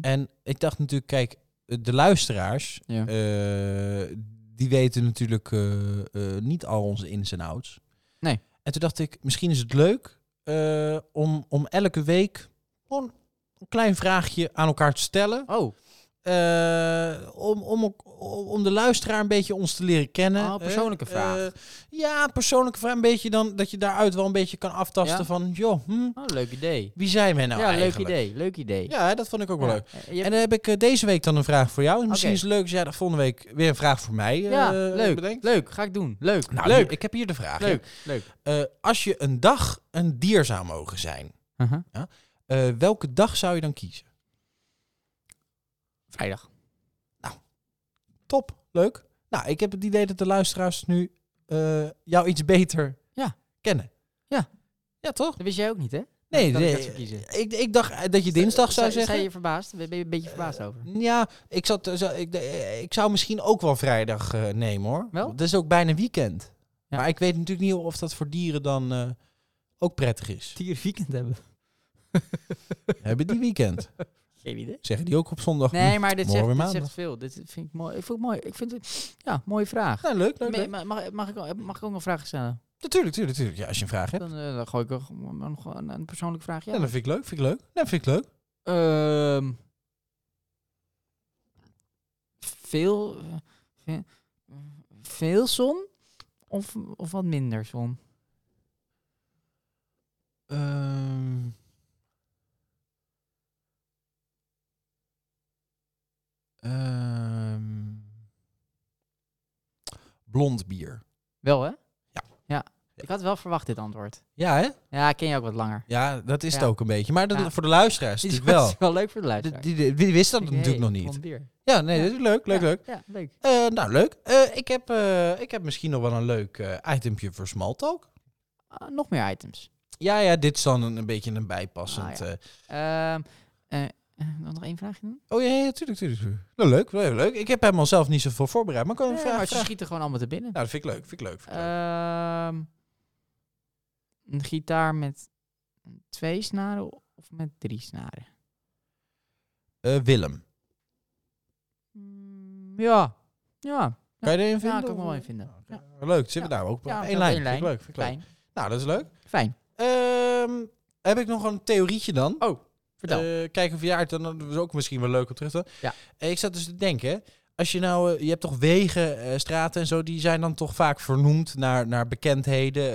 En ik dacht natuurlijk, kijk, eh, de luisteraars,
Eh, Ja.
eh, die weten natuurlijk eh, eh, niet al onze ins en outs.
Nee.
En toen dacht ik, misschien is het leuk eh, om, om elke week gewoon een klein vraagje aan elkaar te stellen.
Oh,
Eh, om, om, ook- om de luisteraar een beetje ons te leren kennen.
Oh, persoonlijke
Eh,
vraag.
eh, ja, persoonlijke vraag. Een beetje dan dat je daaruit wel een beetje kan aftasten
Ja.
van, joh, hm,
oh leuk idee.
wie zijn wij nou
ja,
eigenlijk?
leuk idee. Leuk idee.
Ja, hè, dat vond ik ook wel leuk.
Eh, je-
En dan heb ik eh, deze week dan een vraag voor jou. En Misschien
Oké.
is het leuk als jij de volgende week weer een vraag voor mij eh
ja, leuk.
bedenkt.
Leuk. Ga ik doen. Leuk.
Nou,
leuk.
hier- ik heb hier de vraag. hè.
leuk. Leuk.
Eh, als je een dag een dier zou mogen zijn,
Uh-huh.
eh, welke dag zou je dan kiezen?
Vrijdag.
Top, leuk. Nou, ik heb het idee dat de luisteraars nu eh, jou iets beter
Ja.
kennen.
Ja.
Ja, toch?
Dat wist jij ook niet, hè?
Nee,
dat ik
nee,
dat zou kiezen.
ik, ik dacht eh, dat je dinsdag zou
Sta
zeggen.
je verbaasd? Ben ben je een beetje verbaasd over?
Ja, ik, zat, eh, zou- ik, eh, ik zou misschien ook wel vrijdag eh, nemen hoor.
Wel?
Dat is ook bijna weekend.
Ja.
Maar ik weet natuurlijk niet of dat voor dieren dan eh, ook prettig is.
Tier weekend hebben.
Hebben die weekend?
Geen idee.
Zeggen die ook op zondag?
Nee, maar dit
morgen
zegt,
weer
dit
maandag.
zegt veel. Dit vind ik mooi. Ik vind het mooi. Ik vind het, ja, mooie vraag.
Nou, leuk, leuk.
Ma-
leuk.
ma- Mag, mag, ik, ook- mag ik ook een vraag stellen?
Natuurlijk, natuurlijk, natuurlijk. Ja, als je een vraag hebt.
Dan, eh, dan gooi ik ook nog een, een persoonlijke vraag.
Ja,
Ja.
dat vind ik leuk, vind ik leuk. Dat vind ik leuk.
Ehm, veel, eh, ve- veel zon of, of wat minder zon?
Ehm, ehm, blond bier.
Wel, hè?
Ja.
ja. Ik had wel verwacht dit antwoord.
Ja, hè?
Ja, ik ken je ook wat langer.
Ja, dat is
Ja.
het ook een beetje. Maar dat,
Ja.
voor de luisteraars
Dit is
natuurlijk wel.
wel leuk voor de
Die,
luisteraar.
die, die wist dat
Ik denk,
natuurlijk nog
hey,
niet.
blond bier.
Ja, nee,
Ja.
dit is leuk, leuk,
Ja,
leuk.
Ja, leuk.
Eh, nou, leuk. Eh, ik, heb, eh, ik heb misschien nog wel een leuk eh, itempje voor Smalltalk.
Ah, nog meer items.
Ja, ja, dit is dan een, een beetje een bijpassend...
Ah,
eh,
Ehm eh, eh, dan nog één vraagje doen?
oh ja, ja, tuurlijk, tuurlijk. tuurlijk. Nou, leuk, leuk, leuk. Ik heb helemaal zelf niet zoveel voorbereid, maar ik kan een
Nee,
vraag,
maar ze
vraag-
schieten gewoon allemaal te binnen.
Nou, dat vind ik leuk, vind ik leuk. Vind ik leuk.
Ehm, een gitaar met twee snaren of met drie snaren?
Eh, Willem,
Mm, ja. Ja.
kan je er een vinden?
Ja, ik kan ik
of-
wel één vinden.
Nou, oké. Leuk, zitten we daar ook op
Ja,
één
op
lijn.
één
Vind ik
lijn.
leuk, vind ik leuk.
Fijn.
Nou, dat is leuk.
Fijn.
Ehm, heb ik nog een theorietje dan?
Vertel.
Eh, kijken of je aard, dan dat is ook misschien wel leuk om terug te
Ja.
Eh, Ik zat dus te denken, hè, als je nou, eh, je hebt toch wegen, eh, straten en zo, die zijn dan toch vaak vernoemd naar, naar bekendheden,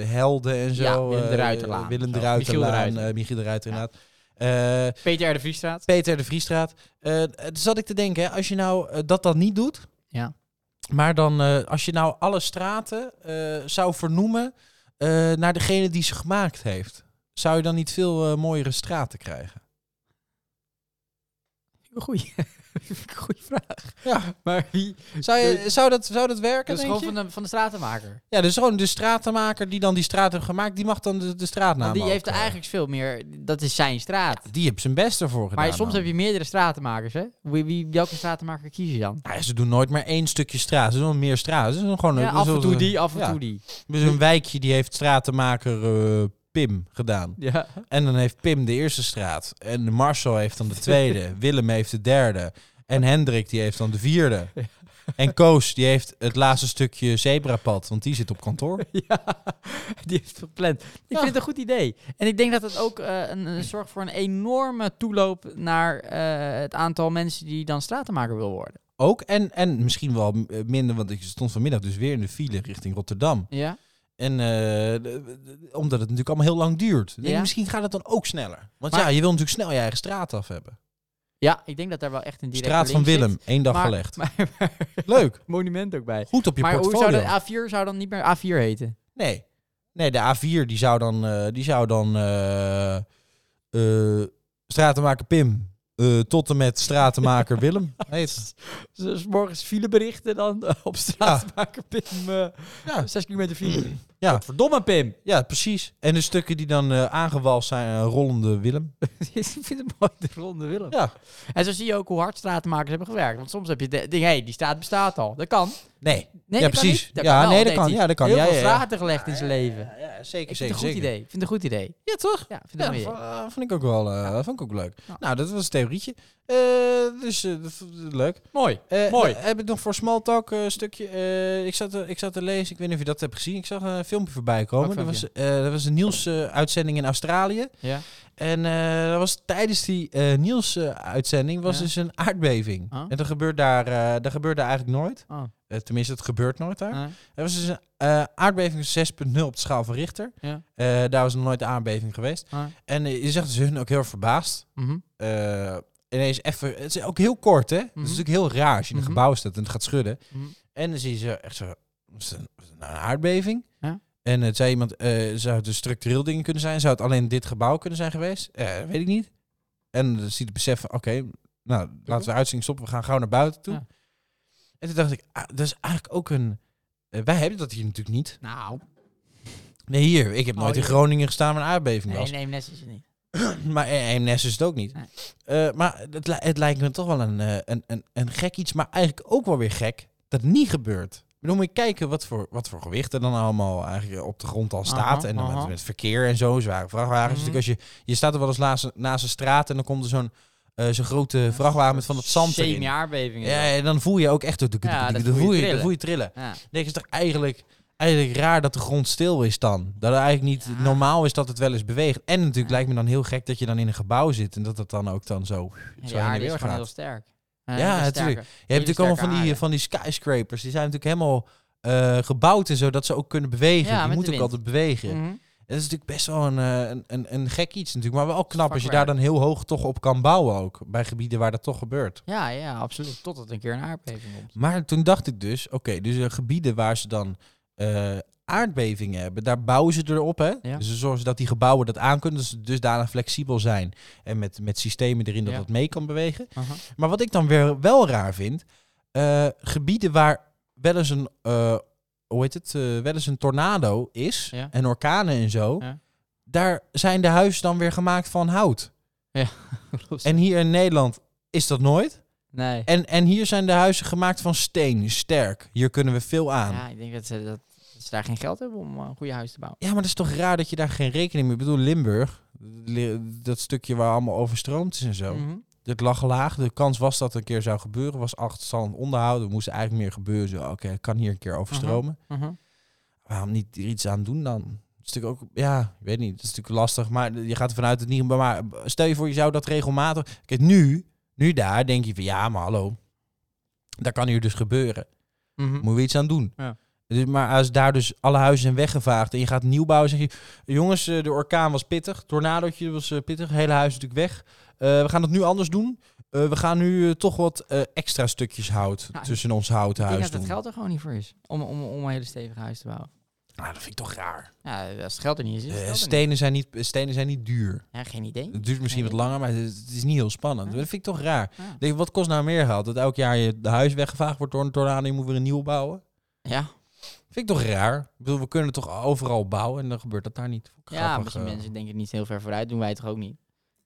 eh, helden en zo.
Ja, Willem
eh,
de Ruiterlaan
Willem de
of zo. Michiel de
Ruiterlaan,
Ruiter.
eh, Michiel de Ruiter
Ja.
inderdaad. Eh,
Peter R. de Vries
Peter de Vriestraat. Eh toen zat ik te denken, hè, als je nou eh, dat dan niet doet,
Ja.
maar dan eh, als je nou alle straten eh, zou vernoemen eh, naar degene die ze gemaakt heeft, zou je dan niet veel eh, mooiere straten krijgen?
Goeie. Goeie vraag.
Ja,
Maar wie?
Zou, je, zou, dat, zou dat werken,
Dat is
denk
gewoon
je?
van de, van de stratenmaker.
Ja, dus gewoon de stratenmaker die dan die straat heeft gemaakt, die mag dan de, de straatnaam
Want die heeft
ook,
er
eh,
eigenlijk veel meer... Dat is zijn straat.
Die heeft zijn best ervoor gedaan.
maar soms
dan.
heb je meerdere stratenmakers, hè? Wie, wie, welke stratenmaker kies je dan?
Nou ja, ze doen nooit maar één stukje straat. Ze doen meer straat. Ze doen gewoon
Ja,
een-
af en
zoals-
toe die, af en
ja.
toe die.
Dus een wijkje die heeft stratenmaker eh, Pim gedaan.
Ja.
En dan heeft Pim de eerste straat. En Marcel heeft dan de tweede. Willem heeft de derde. En Hendrik die heeft dan de vierde. En Koos die heeft het laatste stukje zebrapad. Want die zit op kantoor.
Ja, die heeft het gepland. Ik
Ja.
vind het een goed idee. En ik denk dat het ook eh, een, een zorgt voor een enorme toeloop naar eh, het aantal mensen die dan stratenmaker wil worden.
Ook. En, en misschien wel eh, minder, want ik stond vanmiddag dus weer in de file richting Rotterdam.
Ja.
En eh, d- d- omdat het natuurlijk allemaal heel lang duurt. Ik denk,
Ja.
Misschien gaat het dan ook sneller. Want
Maar-
ja, je wil natuurlijk snel je eigen straat af hebben.
Ja, ik denk dat daar wel echt een directe
Straat van
link zit.
Willem, één dag
Maar-
gelegd.
Maar,
Leuk.
monument ook bij.
Goed op je
maar hoe
portfolio.
zou de A4 zou dan niet meer A4 heten?
Nee. Nee, de A4 die zou dan, eh, die zou dan eh, eh, stratenmaker Pim eh, tot en met stratenmaker Willem heet.
Dus morgens fileberichten dan op stratenmaker eh, Pim.
Ja.
6 kilometer file.
Ja.
Verdomme, Pim.
Ja, precies. En de stukken die dan eh aangewalst zijn, eh, rollende Willem.
ik vind het mooi, de ronde Willem.
Ja.
En zo zie je ook hoe hard stratenmakers hebben gewerkt. Want soms heb je... De, de- hey, die staat bestaat al. Dat kan.
Nee.
Nee,
ja,
dat kan
precies.
niet. Dat
ja,
wel,
nee, dat
heeft
kan.
hij
Ja, dat kan.
Heel
ja,
veel
ja, ja.
straten gelegd in zijn leven.
Ja, ja, zeker,
Ik vind het
zeker,
een goed
zeker.
idee. Ik vind het een goed idee.
Ja, toch?
Ja, ik vind
Ja,
het
dat
een
vond,
mooi
eh, vond ik ook wel, eh, dat vond ik ook leuk.
Ja.
Nou, dat was het theorietje. Eh, dus eh, dat vond ik leuk.
Mooi.
Eh,
Mooi.
dan Heb ik nog voor Smalltalk een stukje. eh, ik, zat, eh, ik zat te lezen, ik weet niet of je dat hebt gezien. Ik zag een filmpje voorbij komen.
Welk
Dat was, eh, dat was een nieuwsuitzending in Australië.
Ja.
En eh, dat was tijdens die eh nieuwsuitzending was
Ja.
dus een aardbeving.
Ah.
En dat gebeurt daar, eh, dat gebeurt daar eigenlijk nooit.
Oh.
Eh, tenminste, het gebeurt nooit daar.
Ah.
Er was dus een eh, aardbeving 6.0 op de schaal van Richter.
Ja.
Eh, daar was nog nooit een aardbeving geweest.
Ah.
En eh, je zegt dus hun ook heel erg verbaasd.
Mhm.
Eh, ineens even... Het is ook heel kort, hè? Het is
Mhm.
natuurlijk heel raar als je in een
Mhm.
gebouw staat en het gaat schudden.
Mhm.
En dan zie je ze echt zo... "Is het een, is het nou een aardbeving?
Ja.
En het zei iemand... eh, zou het een structureel ding kunnen zijn? Zou het alleen dit gebouw kunnen zijn geweest? Eh, weet ik niet. En dan zie je het besef van... Oké, nou, laten we de uitzending stoppen. We gaan gauw naar buiten toe.
Ja.
En toen dacht ik... ah, dat is eigenlijk ook een... eh, wij hebben dat hier natuurlijk niet.
Nou,
Nee, hier. Ik heb
Oh,
nooit in
hier.
Groningen gestaan waar een aardbeving
nee,
was.
nee, Nes is het niet.
Maar in Eemnes is het ook niet.
Nee.
Eh, maar het, li- het lijkt me toch wel een, eh, een, een, een gek iets. Maar eigenlijk ook wel weer gek dat het niet gebeurt. Ik bedoel, moet je kijken wat voor, wat voor gewicht er dan allemaal eigenlijk op de grond al staat.
Aha,
en dan met,
aha.
met verkeer en zo, zware vrachtwagens.
Mhm.
Natuurlijk als je, je staat er wel eens naast, een- naast een straat en dan komt er zo'n eh, zo'n grote vrachtwagen met van dat zand erin.
Semi-aardbevingen.
Ja, en dan voel je ook echt...
Ja, dat
dan,
voel je
voel je, dan
trillen.
voel je trillen.
Ja.
Nee, het is toch eigenlijk, eigenlijk raar dat de grond stil is dan. Dat het eigenlijk niet
Ja.
normaal is dat het wel eens beweegt. En natuurlijk lijkt me dan heel gek dat je dan in een gebouw zit en dat dat dan ook dan zo.
Ja,
Zo
die
heen en
aarde
weer
is gewoon
gaat.
heel sterk.
Ja,
Eh, die is
natuurlijk.
sterker.
Je hebt natuurlijk
sterke
allemaal van die,
aarde.
van die skyscrapers. Die zijn natuurlijk helemaal eh, gebouwd en zo dat ze ook kunnen bewegen.
Ja,
die
met de
moeten ook
wind.
altijd bewegen.
Mhm.
Het is natuurlijk best wel een, eh, een, een, een gek iets natuurlijk. Maar wel knap als je daar
vakwerk.
dan heel hoog toch op kan bouwen ook. Bij gebieden waar dat toch gebeurt.
Ja, ja, absoluut. Totdat een keer een aardbeving komt.
Maar toen dacht ik dus, oké, dus eh, gebieden waar ze dan eh, aardbevingen hebben, daar bouwen ze erop, hè?
Ja.
Dus ze zorgen dat die gebouwen dat aankunnen, dus dusdanig flexibel zijn en met, met systemen erin dat
Ja.
dat mee kan bewegen.
Aha.
Maar wat ik dan weer wel raar vind, eh, gebieden waar wel eens een, eh, hoe heet het, eh, wel eens een tornado is
Ja.
en orkanen en zo,
Ja.
daar zijn de huizen dan weer gemaakt van hout. En hier in Nederland is dat nooit.
nee.
En, en hier zijn de huizen gemaakt van steen, sterk. Hier kunnen we veel aan. Ja.
Ja, ik denk dat ze, dat, dat ze daar geen geld hebben om eh, een goede huis te bouwen.
maar dat is toch raar dat je daar geen rekening mee... Ik bedoel, Limburg, li- dat stukje waar allemaal overstroomd is en zo.
Mhm.
Dat lag laag. De kans was dat het een keer zou gebeuren. Was achterstand onderhouden. Er moest eigenlijk meer gebeuren. Zo, Oké, het kan hier een keer overstromen.
Mhm.
Waarom niet er iets aan doen dan? Dat is natuurlijk ook... Ja, ik weet niet. Dat is natuurlijk lastig. Maar je gaat ervan uit dat het niet... Maar stel je voor, je zou dat regelmatig... Kijk, nu, nu daar denk je van... Ja, maar hallo. Dat kan hier dus gebeuren.
Mhm.
Moeten we iets aan doen.
Ja.
Dus, maar als daar dus alle huizen zijn weggevaagd en je gaat nieuw bouwen, zeg je... Jongens, eh, de orkaan was pittig, tornadootje was eh, pittig, het hele huis is natuurlijk weg. Eh, we gaan dat nu anders doen. Eh, we gaan nu eh, toch wat eh, extra stukjes hout
Ja,
tussen ons houten
Nou, Ik
huis
denk dat
doen.
het geld er gewoon niet voor is. Om, om, om een hele stevig huis te bouwen.
Ah, dat vind ik toch raar.
Ja, als het geld er niet is, is het
Eh,
geld er
stenen, zijn niet, stenen zijn niet duur.
niet. Ja, geen idee.
Het duurt misschien wat
Nee.
langer, maar het is, het is niet heel spannend.
Ja.
Dat vind ik toch raar.
Ja.
Ik Denk, wat kost nou meer geld? Dat elk jaar je de huis weggevaagd wordt door een tornado en je moet weer een nieuw bouwen?
Ja,
Vind ik toch raar? Ik bedoel, we kunnen toch overal bouwen en dan gebeurt dat daar niet. Vond ik
ja
grappig,
misschien
eh.
mensen denken niet heel ver vooruit. Doen wij het toch ook niet?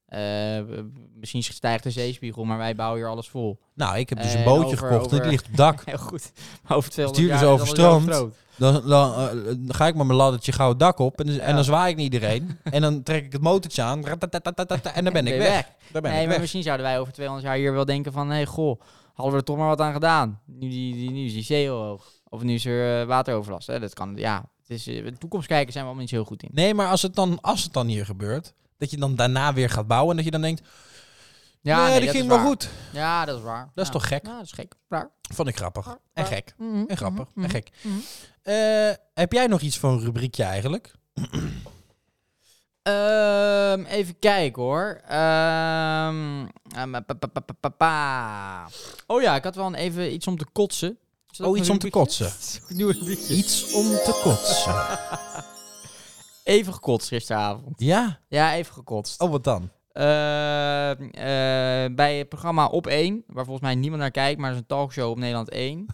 Eh, b- b- misschien stijgt de zeespiegel, maar wij bouwen hier alles vol.
Nou, ik heb dus een
Eh,
bootje
over-
gekocht en
over-
het ligt op dak.
Heel goed. Maar over 200
Stuur is
jaar alles
overstroomd.
overstroomd.
Dan, dan, eh, dan ga ik met mijn laddertje gauw het dak op en, dan- en dan
Ja.
zwaai ik naar iedereen. en dan trek ik het motortje aan ratatatatata, en dan ben ik
je
weg. Dan ben
nee,
ik
maar
weg.
misschien zouden wij over 200 jaar hier wel denken van... Hé, hey, goh, hadden we er toch maar wat aan gedaan. Nu, die, die, nu is die zee heel hoog. Of nu is er eh, wateroverlast. Hè? Dat kan, ja. Het is, eh, de toekomst kijken zijn we allemaal niet zo heel goed in.
Nee, maar als het, dan, als het dan hier gebeurt, dat je dan daarna weer gaat bouwen en dat je dan denkt, ja, nee, dat,
is
ging wel
waar.
goed.
Ja, dat is waar.
Dat is toch gek?
Ja, Nou, dat is gek. Raar.
Vond ik grappig. En gek.
Mhm,
En grappig.
mhm,
En
mhm.
gek.
mhm.
Eh, heb jij nog iets voor een rubriekje eigenlijk?
Ehm, even kijken hoor. Ehm, ehm, pa, pa, pa, pa, pa, pa. Oh ja, ik had wel een, even iets om te kotsen. Is dat
Oh,
ook
iets
een
om te
rubriekje?
kotsen.
Nieuw rubriekje.
Iets om te kotsen.
Even gekotst gisteravond.
Ja?
Ja, even gekotst.
Oh, wat dan?
Ehm, eh, bij het programma Op 1, waar volgens mij niemand naar kijkt, maar dat is een talkshow op Nederland 1.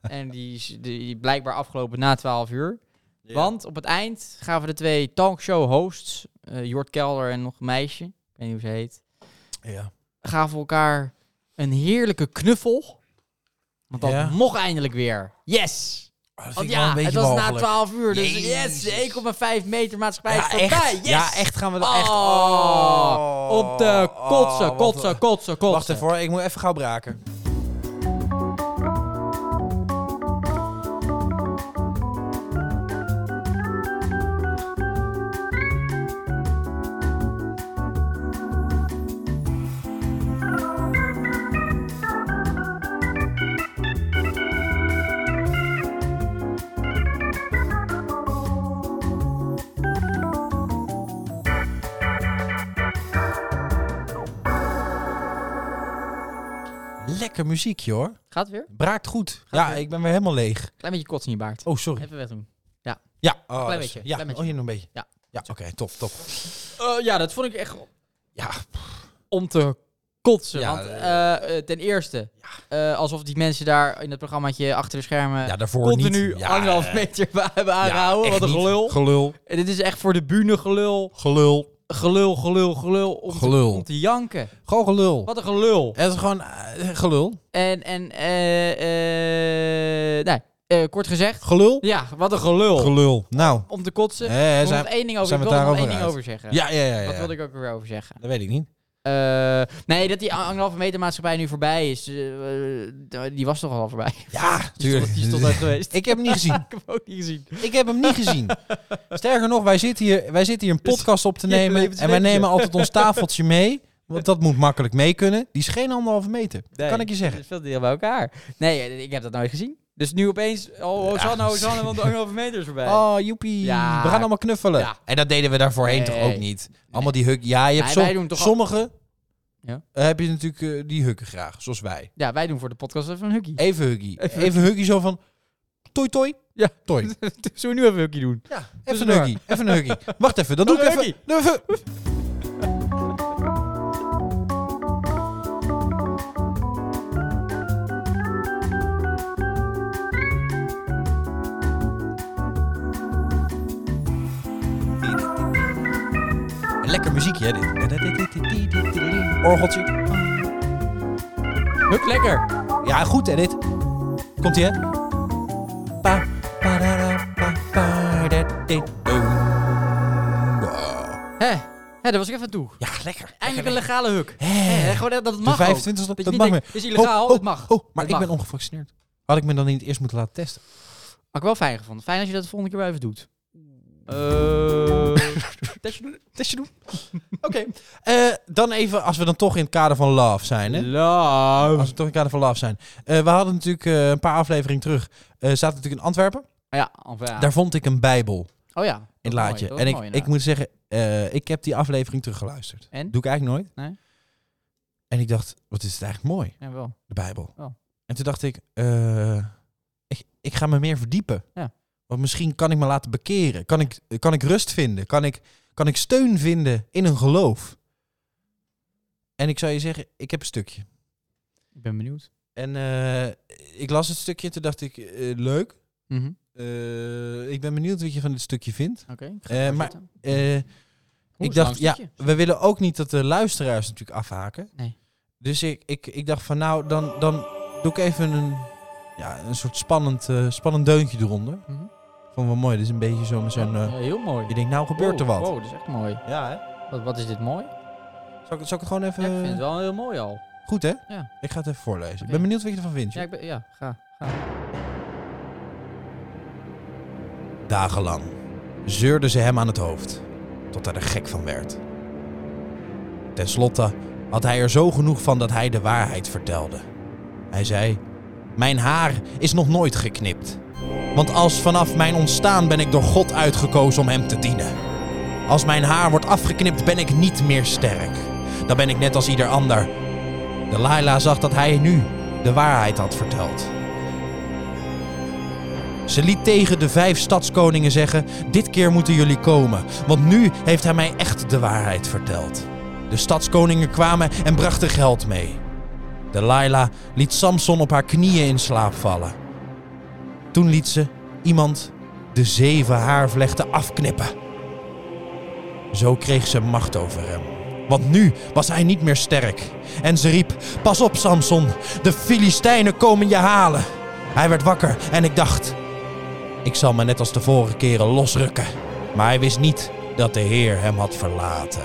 en die is die, blijkbaar afgelopen na 12 uur.
Ja.
Want op het eind gaven de twee talkshow-hosts, eh Jort Kelder en nog een meisje, ik weet niet hoe ze heet,
Ja.
gaven elkaar een heerlijke knuffel. Want dat
Ja.
mocht eindelijk weer. Yes!
Oh, dat vind
Want
ik wel
ja,
een beetje
het was na
walgelijk.
12 uur, dus
Jezus.
yes, 1,5 meter maatschappij is
ja,
voorbij.
echt.
Yes!
Ja, echt gaan we dat
Oh,
echt... Oh,
op de kotsen,
oh, wat-
kotsen, kotsen, kotsen.
Wacht even hoor, ik moet even gauw braken. Lekker muziekje hoor.
Gaat het weer?
Braakt goed.
Gaat
ja,
weer.
ik ben weer helemaal leeg.
Klein beetje kots in je baard.
Oh, sorry.
Even wegdoen.
Ja. Oh, dat is-
beetje,
Ja,
klein beetje.
oh, hier nog een beetje.
Ja.
Ja, oké, top, top.
Eh, ja, dat vond ik echt
Ja,
om te kotsen.
Ja,
want
eh,
eh, eh, ten eerste, eh, alsof die mensen daar in het programmaatje achter de schermen
ja daarvoor
continu
niet. Ja,
anderhalf
eh,
meter wa- hebben
ja,
aangehouden.
echt
Wat een
niet.
gelul.
Gelul.
En dit is echt voor de bühne gelul.
Gelul.
Gelul, gelul, gelul. Om,
Gelul.
Te, om te janken.
Gewoon gelul.
Wat een gelul.
Het is gewoon eh, gelul.
En, en, eh, eh, nee, eh, kort gezegd.
Gelul.
Ja, wat een gelul.
Gelul. Nou.
Om te kotsen.
Eh,
Ik wil
zijn-
nog één ding over,
zijn
ik
we
wil er nog
daarover
één ding
uit?
over zeggen.
Ja, ja, ja. ja,
Wat
ja.
wilde ik ook weer over zeggen?
Dat weet ik niet.
Eh, nee, dat die anderhalve meter maatschappij nu voorbij is. eh, eh, die was toch al voorbij?
Ja,
Die
tuurlijk.
stond, die stond uit geweest.
Ik heb hem niet gezien.
Ik heb hem ook niet gezien.
Ik heb hem niet gezien. Sterker nog, wij zitten hier, wij zitten hier
Dus
een podcast op te
Ja,
nemen.
levensweetje.
En wij nemen altijd ons tafeltje mee. Want dat moet makkelijk mee kunnen. Die is geen anderhalve meter.
Nee,
Kan ik je zeggen.
Het is veel dichter bij elkaar. Nee, eh, ik heb dat nooit gezien. Dus nu opeens, oh, Hosanna, Hosanna, want de anderhalve meter is voorbij.
Oh, joepie.
Ja.
We gaan allemaal knuffelen.
Ja.
En dat deden we daarvoorheen
Nee.
toch ook niet. Allemaal die huk. Ja, je hebt
Nee,
som-
wij doen toch al-
sommige
Ja.
eh, heb je natuurlijk eh, die hukken graag. Zoals wij.
Ja, wij doen voor de podcast even een hukkie.
Even hukkie. Even hukkie zo van... Toi, toi.
Ja.
Toi.
Zullen we nu even een hukkie doen?
Ja, even
Tussendoor.
een huggie. Even een huggie. Wacht even, dan doe
Nog
ik
een
even. doe even. Een Lekker muziekje, hè, dit. Orgeltje.
Huk lekker.
Ja, goed, hè, dit. Komt-ie, hè? Pa, pa, da, da, pa, pa, da, di, doem. Wow.
Hé, hé, daar was ik even aan toe.
Ja, lekker.
Eindelijk een legale huk.
Hé.
Hé, gewoon dat dat het
De
mag
25 dat,
ook. Dat
dat
je
mag
niet
meer.
denkt, is illegaal,
Oh, oh,
het mag.
Oh, maar
Het
ik
mag.
ben ongevaccineerd. Had ik me dan niet eerst moeten laten testen?
Had ik wel fijn gevonden. Fijn als je dat de volgende keer wel even doet. testje doen. Testje doen.
Oké. Eh, dan even, als we dan toch in het kader van love zijn, hè?
Love.
Als we toch in het kader van love zijn. Eh, we hadden natuurlijk eh, een paar afleveringen terug. eh zaten natuurlijk in Antwerpen.
Ah Ja, of ja.
Daar vond ik een bijbel
oh ja. Dat
in
is
het
mooi,
laadje.
dat is
en ik,
mooi
ik
inderdaad.
moet zeggen, eh, ik heb die aflevering teruggeluisterd.
En?
Doe ik eigenlijk nooit.
Nee.
En ik dacht, wat is het eigenlijk mooi,
Ja, wel.
de Bijbel.
Oh.
En toen dacht ik, eh, ik, ik ga me meer verdiepen.
Ja.
Want misschien kan ik me laten bekeren. Kan ik, kan ik rust vinden? Kan ik, kan ik steun vinden in een geloof? En ik zou je zeggen, ik heb een stukje.
Ik ben benieuwd.
En eh, ik las het stukje en toen dacht ik, eh, leuk.
Mhm.
Eh, ik ben benieuwd wat je van dit stukje vindt.
Oké.
Eh, maar Eh, ik dacht, ja, we willen ook niet dat de luisteraars natuurlijk afhaken.
Nee.
Dus ik, ik, ik dacht van nou, dan, dan doe ik even een, ja, een soort spannend, eh, spannend deuntje eronder.
Mhm.
Van wat mooi, dit is een beetje zo met zo'n... eh,
heel mooi.
je denkt, nou gebeurt er wat. Eh.
Wow, dat is echt mooi.
Ja, hè?
Wat, wat is dit mooi?
Zal ik, zal ik het gewoon even...
Ja, ik vind het wel heel mooi al.
Goed, hè?
Ja.
Ik ga het even voorlezen. Ik
Oké.
ben benieuwd wat je ervan vindt.
Ja,
joh.
ik ben, ja ga. ga.
Dagenlang zeurden ze hem aan het hoofd, tot hij er gek van werd. Ten slotte had hij er zo genoeg van dat hij de waarheid vertelde. Hij zei: Mijn haar is nog nooit geknipt. Want als vanaf mijn ontstaan ben ik door God uitgekozen om hem te dienen. Als mijn haar wordt afgeknipt, ben ik niet meer sterk. Dan ben ik net als ieder ander. Delilah zag dat hij nu de waarheid had verteld. Ze liet tegen de vijf stadskoningen zeggen: Dit keer moeten jullie komen, want nu heeft hij mij echt de waarheid verteld. De stadskoningen kwamen en brachten geld mee. Delilah liet Samson op haar knieën in slaap vallen. Toen liet ze iemand de zeven haarvlechten afknippen. Zo kreeg ze macht over hem. Want nu was hij niet meer sterk. En ze riep: Pas op, Samson, de Filistijnen komen je halen. Hij werd wakker en ik dacht: Ik zal me net als de vorige keren losrukken. Maar hij wist niet dat de Heer hem had verlaten.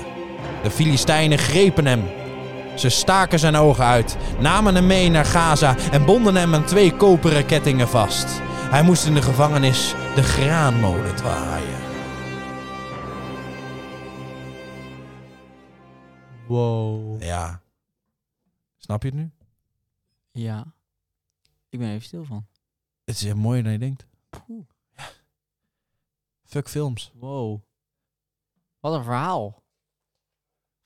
De Filistijnen grepen hem. Ze staken zijn ogen uit, namen hem mee naar Gaza en bonden hem aan twee koperen kettingen vast. Hij moest in de gevangenis de graanmolen draaien.
Wow.
Ja. Snap je het nu?
Ja. Ik ben even stil van.
Het is mooier dan je denkt.
Poeh.
Fuck films.
Wow. Wat een verhaal.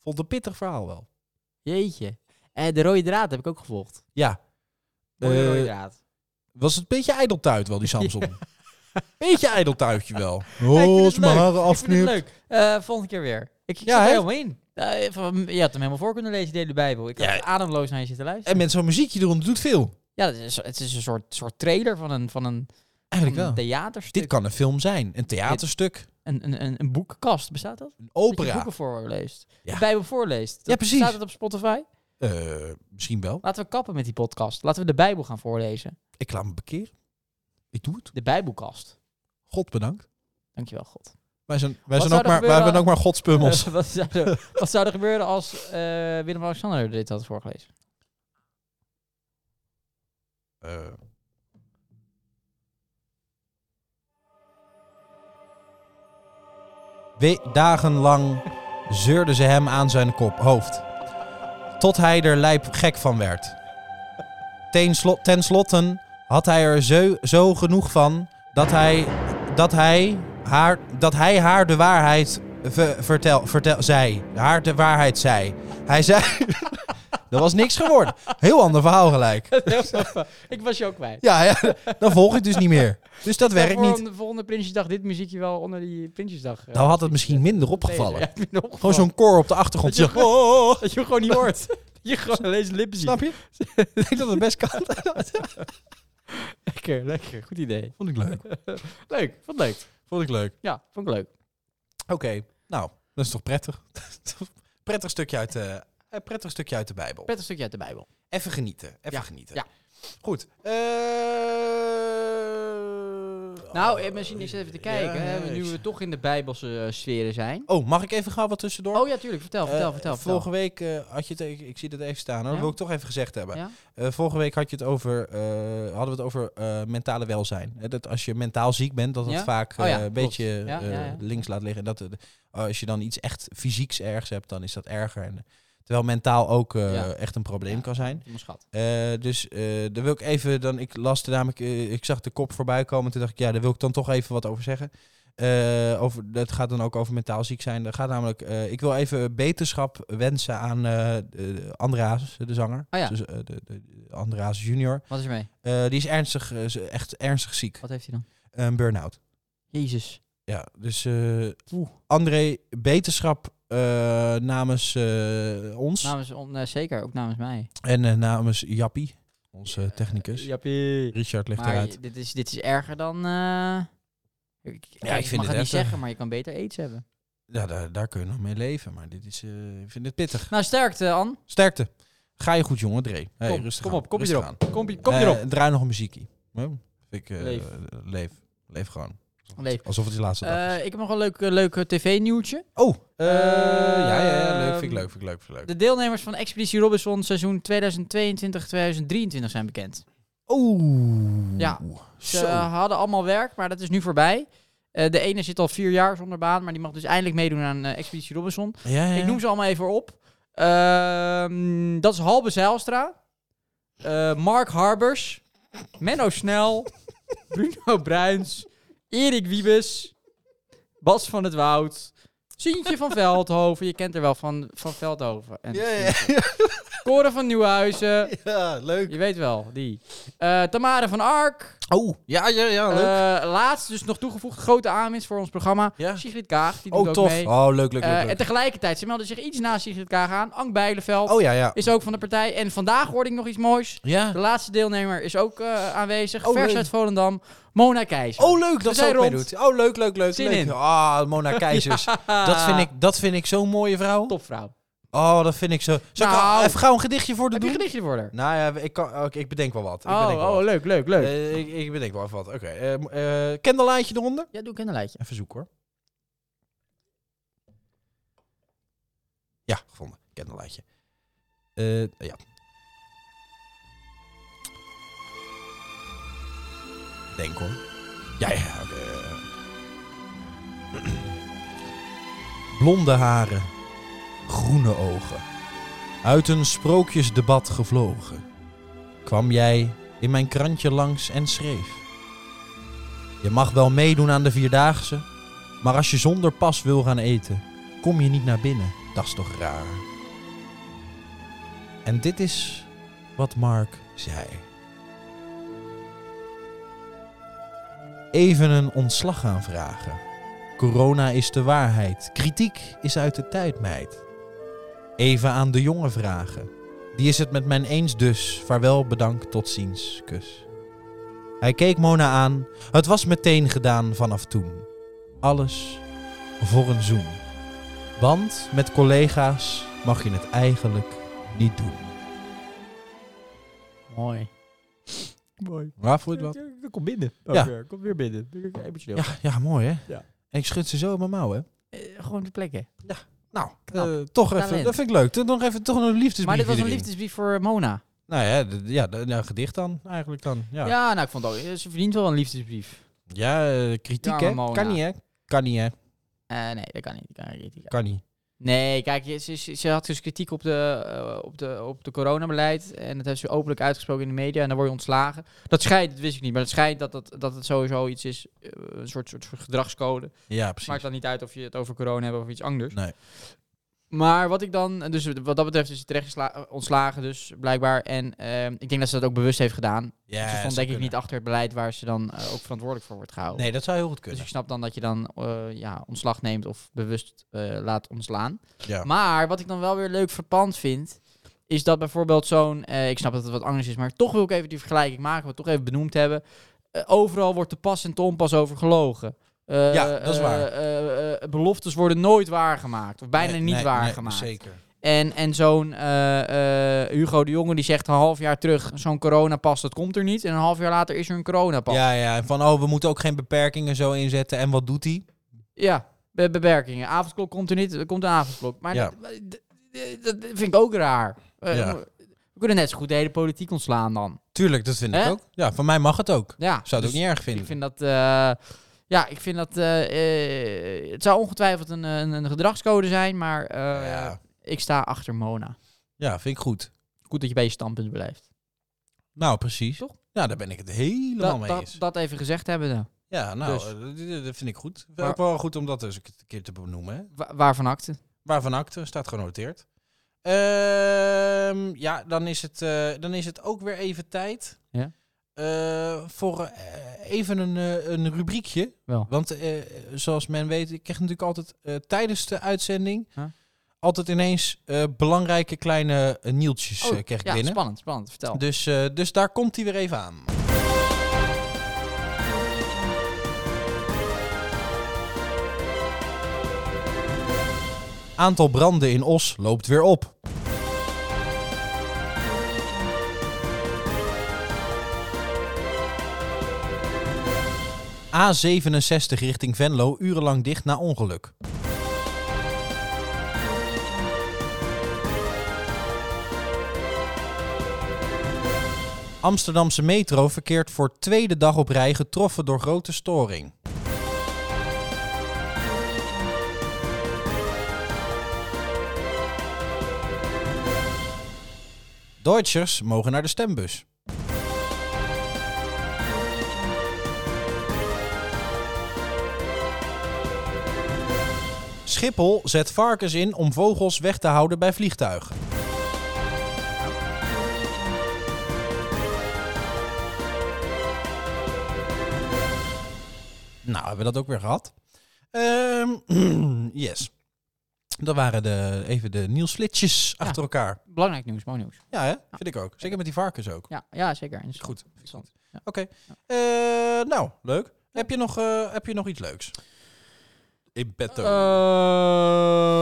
Vond een pittig verhaal wel.
Jeetje. Eh, de rode draad heb ik ook gevolgd.
Ja.
Mooie
Eh,
rode draad.
was het een beetje ijdeltuit wel, die Samson. Beetje ijdeltuitje wel.
ik vind
Oh,
het
als mijn
leuk.
haren
Ik vind het
afknipt.
leuk. Eh, volgende keer weer. Ik, ik
Ja,
zat er
hè?
helemaal in. Eh, van- je had hem helemaal voor kunnen lezen, de hele Bijbel. Ik had
Ja.
ademloos naar je zitten luisteren.
En met zo'n muziekje eronder doet veel.
Ja, het is, het is een soort, soort trailer van een, van een, van
Eigenlijk
Mm, een
wel.
theaterstuk.
Dit kan een film zijn. Een theaterstuk.
Een, een, een, een boekenkast, bestaat dat?
Een
Dat je
opera.
boeken voorleest.
Ja.
De Bijbel voorleest.
Ja, precies.
Staat het op Spotify?
Eh, misschien wel.
Laten we kappen met die podcast. Laten we de Bijbel gaan voorlezen.
Ik laat me bekeren. Ik doe het.
De Bijbelkast.
God bedankt.
Dankjewel, God.
Wij zijn, wij
Wat
zijn, ook,
zou
maar,
er
wij
gebeuren
zijn ook maar godspummels.
Eh, wat, zou er, wat zou er gebeuren als eh, Willem-Alexander dit had voorgelezen?
Eh. We- dagenlang zeurden ze hem aan zijn kop, hoofd. Tot hij er lijp gek van werd. Ten, slo- ten slotte had hij er zo, zo genoeg van dat hij, dat hij, haar, dat hij haar de waarheid ve- vertel, vertel, zei. Haar de waarheid zei. Hij zei... dat was niks geworden. Heel ander verhaal gelijk.
ik was je ook kwijt.
Ja, ja, dan volg ik het dus niet meer. Dus dat werkt niet.
De volgende Prinsjesdag dit muziekje wel onder die Prinsjesdag. eh,
Dan had het misschien minder
opgevallen.
opgevallen.
Ja, ik ben opgevallen.
Gewoon zo'n koor op de achtergrond.
Dat je,
Zeg,
gewoon, dat je gewoon niet hoort. Dat je gewoon alleen zijn lippen ziet.
snap je? Ik denk dat het best kan.
Lekker, lekker. Goed idee.
Vond ik leuk.
Leuk, vond ik leuk.
Vond ik leuk.
Ja, vond ik leuk.
Oké, nou, dat is toch prettig. prettig, stukje uit, de- eh, prettig stukje uit de Bijbel.
Prettig stukje uit de Bijbel.
Even genieten. Even
Ja,
genieten.
ja.
Goed. eh,
Nou, eh,
oh,
misschien eens even te
ja,
kijken, hè,
ja,
nu
ik-
we toch in de Bijbelse eh, sferen zijn.
Oh, mag ik even gauw wat tussendoor?
Oh ja, tuurlijk. Vertel, vertel,
Eh,
vertel. vertel.
Vorige week eh, had je het, ik, ik zie dat even staan, hoor. dat
Ja?
wil ik toch even gezegd hebben.
Ja?
Eh, vorige week had je het over, eh, hadden we het over eh, mentale welzijn. Hè, dat als je mentaal ziek bent, dat dat
Ja?
vaak
Oh ja,
eh, een
klopt.
beetje
Ja,
eh,
ja, ja.
links laat liggen. Dat, eh, als je dan iets echt fysieks ergs hebt, dan is dat erger. En, terwijl mentaal ook eh,
Ja.
echt een probleem
Ja.
kan zijn.
Mijn schat.
Eh, dus eh daar wil ik even, dan, ik las er namelijk, eh, ik zag de kop voorbij komen. Toen dacht ik, ja, daar wil ik dan toch even wat over zeggen. Eh, over, het gaat dan ook over mentaal ziek zijn. Dat gaat namelijk, eh, ik wil even beterschap wensen aan eh eh, André Hazes, de zanger.
Ah ja.
Dus, eh, de, de, de André Hazes junior.
Wat is er mee?
Eh, die is ernstig, eh, ze- echt ernstig ziek. Eh,
Wat heeft hij dan?
Een burn-out.
Jezus.
Ja, dus eh André, beterschap eh, namens eh, ons
Namens, on, eh, zeker, ook namens mij.
en eh, namens Jappie, onze technicus.
Jappie.
Richard ligt
Maar
eruit.
je- dit is, dit is erger dan... eh, ik,
Ja, ik vind het
mag het niet
echt, eh,
zeggen, maar je kan beter aids hebben.
Ja, daar, daar kun je nog mee leven, maar dit is, eh, ik vind het pittig.
Nou, sterkte, An.
Sterkte. Ga je goed, jongen, Dree. Hey,
Kom,
rustig
kom
aan,
op, kom je
rustig
erop.
aan.
Kom, je- kom
Eh,
erop.
draai nog een muziekie. Hm? Ik, eh,
Leef.
leef. Leef gewoon.
Leef.
Alsof het je laatste dag is.
Eh, ik heb nog een leuk, eh, leuk eh, tv-nieuwtje.
Oh, eh, ja, ja, ja, leuk,
ehm,
vind ik leuk, vind ik leuk, vind ik leuk.
De deelnemers van Expeditie Robinson seizoen 2022-2023 zijn bekend.
Oeh.
Ja. Ze
Oh. Zo.
hadden allemaal werk, maar dat is nu voorbij. Eh, de ene zit al vier jaar zonder baan, maar die mag dus eindelijk meedoen aan eh, Expeditie Robinson.
Ja, ja,
Ik
ja.
noem ze allemaal even op. Ehm, dat is Halbe Zijlstra. Eh, Mark Harbers. Menno Snel. Bruno Bruins. Erik Wiebes. Bas van het Woud. Sientje van Veldhoven. Je kent er wel van, van Veldhoven. En
Ja, ja,
Cora van Nieuwhuizen.
ja, leuk.
Je weet wel, die. Eh Tamara van Ark.
Oh, ja, ja, ja. Leuk.
Eh, laatst dus nog toegevoegd, grote aanwinst voor ons programma.
Ja.
Sigrid Kaag, die doet
oh,
ook
tof.
mee.
Oh, leuk, leuk,
Eh,
leuk.
en
leuk.
tegelijkertijd, ze melden zich iets na Sigrid Kaag aan. Ank Bijleveld
Oh, ja, ja.
is ook van de partij. En vandaag hoorde ik nog iets moois.
Ja.
De laatste deelnemer is ook eh, aanwezig.
Oh,
Vers
leuk.
uit Volendam. Mona Keizer.
Oh, leuk dat
zijn
zij
rond.
meedoet. Oh, leuk, leuk, leuk.
Zin
leuk.
in.
Ah, Mona Keizers. dat, vind ik, dat vind ik zo'n mooie vrouw.
Topvrouw.
Oh, dat vind ik zo. Zal ik
Nou.
al even gauw een gedichtje voor de
Heb je
doen?
een gedichtje voor haar?
Nou ja, ik, kan, oké, ik bedenk wel wat. Ik
Oh,
bedenk wel
oh,
wat.
leuk, leuk, leuk.
Eh, ik, ik bedenk wel even wat. Oké. eh, m- eh, Candlelightie eronder?
ja, doe ik een lijstje.
Even zoeken hoor. Ja, gevonden. Candlelightje. Eh ja. Denk hoor. Ja, ja. oké, eh. Blonde haren, groene ogen. Uit een sprookjesdebat gevlogen. Kwam jij in mijn krantje langs en schreef. Je mag wel meedoen aan de Vierdaagse, maar als je zonder pas wil gaan eten, kom je niet naar binnen. Dat is toch raar. En dit is wat Mark zei. Even een ontslag aanvragen. Corona is de waarheid. Kritiek is uit de tijd, meid. Even aan de jongen vragen. Die is het met mijn eens dus. Vaarwel, bedankt, tot ziens, kus. Hij keek Mona aan het was meteen gedaan vanaf toen. Alles voor een zoen. Want met collega's mag je het eigenlijk niet doen.
Mooi.
Mooi.
Waar voel
Ja, Kom binnen. Ook
Ja.
weer. Kom weer binnen. Emotioneel.
Ja, ja, mooi hè?
Ja.
En ik schud ze zo op mijn mouwen.
Eh, gewoon de plekken.
Nou,
Knap.
eh, toch even.
Talent.
Dat vind ik leuk. Toch nog even toch een liefdesbrief.
Maar dit was een
erin.
liefdesbrief voor Mona.
Nou ja, d- ja, d- ja, gedicht dan eigenlijk dan. Ja,
Ja,
ja.
nou, ik vond ook, eh, ze verdient wel een liefdesbrief.
eh, kritiek
Ja, maar
hè?
Mona.
Kan niet hè? Kan niet hè?
Eh, nee, dat kan niet. Dat kan niet.
Kan niet.
Nee, kijk, je- ze, ze- ze had dus kritiek op de, eh, op, de, op de coronabeleid. En dat heeft ze openlijk uitgesproken in de media. En dan word je ontslagen. Dat schijnt, dat wist ik niet. Maar het schijnt dat, dat, dat het sowieso iets is. eh, een soort, soort gedragscode.
Ja, precies.
Maakt dan niet uit of je het over corona hebt of iets anders.
Nee.
Maar wat ik dan, dus wat dat betreft is ze terecht gesla- eh, ontslagen dus, blijkbaar. En ehm, ik denk dat ze dat ook bewust heeft gedaan.
Ja,
ze stond
zou
denk ik
kunnen.
niet achter Dus het beleid waar ze dan eh, ook verantwoordelijk voor wordt gehouden.
Nee, dat zou heel goed
Dus
kunnen.
ik snap dan dat je dan eh, ja, ontslag neemt of bewust eh, laat ontslaan.
Ja.
Maar wat ik dan wel weer leuk verpand vind, is dat bijvoorbeeld zo'n... eh, ik snap dat het wat anders is, maar toch wil ik even die vergelijking maken, wat we toch even benoemd hebben. Eh, overal wordt te pas en te onpas over gelogen. Eh,
Ja, dat is
eh,
waar.
eh, eh, beloftes worden nooit waargemaakt, of bijna
Nee,
niet
nee,
waargemaakt.
Nee, zeker.
En, en zo'n eh, eh, Hugo de Jonge die zegt een half jaar terug, zo'n coronapas, dat komt er niet. En een half jaar later is er een coronapas.
Ja, ja. En van, oh, we moeten ook geen beperkingen zo inzetten. En wat doet hij?
Ja, be- beperkingen. Avondklok komt er niet, er komt een avondklok. Maar
Ja.
dat, d- d- dat vind ik ook raar. Eh,
Ja.
We kunnen net zo goed de hele politiek ontslaan dan.
Tuurlijk, dat vind ik
Hè?
ook. Ja, van mij mag het ook.
Ja,
Zou het
dus
ook niet erg
Ik
vinden.
vind dat... eh, ja, ik vind dat... eh, eh, het zou ongetwijfeld een, een, een gedragscode zijn, maar eh,
ja.
ik sta achter Mona.
ja, vind ik goed.
Goed dat je bij je standpunt blijft.
Nou, precies.
Toch?
Ja, daar ben ik het helemaal
Dat,
mee
dat,
eens.
dat even gezegd hebben.
ja, nou,
dus.
eh, d- d- dat vind ik goed.
Maar-
ook wel goed om dat eens een keer te benoemen. Hè?
Wa waarvan acte?
Waarvan acte, staat genoteerd. Ehm, ja, dan is, het, eh, dan is het ook weer even tijd
Ja.
eh, voor eh, even een, eh, een rubriekje.
Wel.
Want eh, zoals men weet, ik krijg natuurlijk altijd eh, tijdens de uitzending...
Ja.
altijd ineens eh, belangrijke kleine eh, nieltjes eh, krijg ik
Oh, ja,
binnen.
spannend, spannend. Vertel.
Dus, eh, dus daar komt hij weer even aan. Aantal branden in Os loopt weer op. A67 richting Venlo urenlang dicht na ongeluk. Amsterdamse metro verkeert voor tweede dag op rij getroffen door grote storing. Duitsers mogen naar de stembus. Schiphol zet varkens in om vogels weg te houden bij vliegtuigen. Nou, hebben we dat ook weer gehad. Ehm, yes. Dat waren de, even de nieuwsflitsjes achter elkaar.
Belangrijk nieuws, mooi nieuws.
Ja, hè? vind ik ook. Zeker met die varkens ook.
Ja, ja zeker. Is
Goed.
Interessant.
Oké. Eh, nou, leuk. Heb je, nog, eh, heb je nog iets leuks? In petto.
Eh,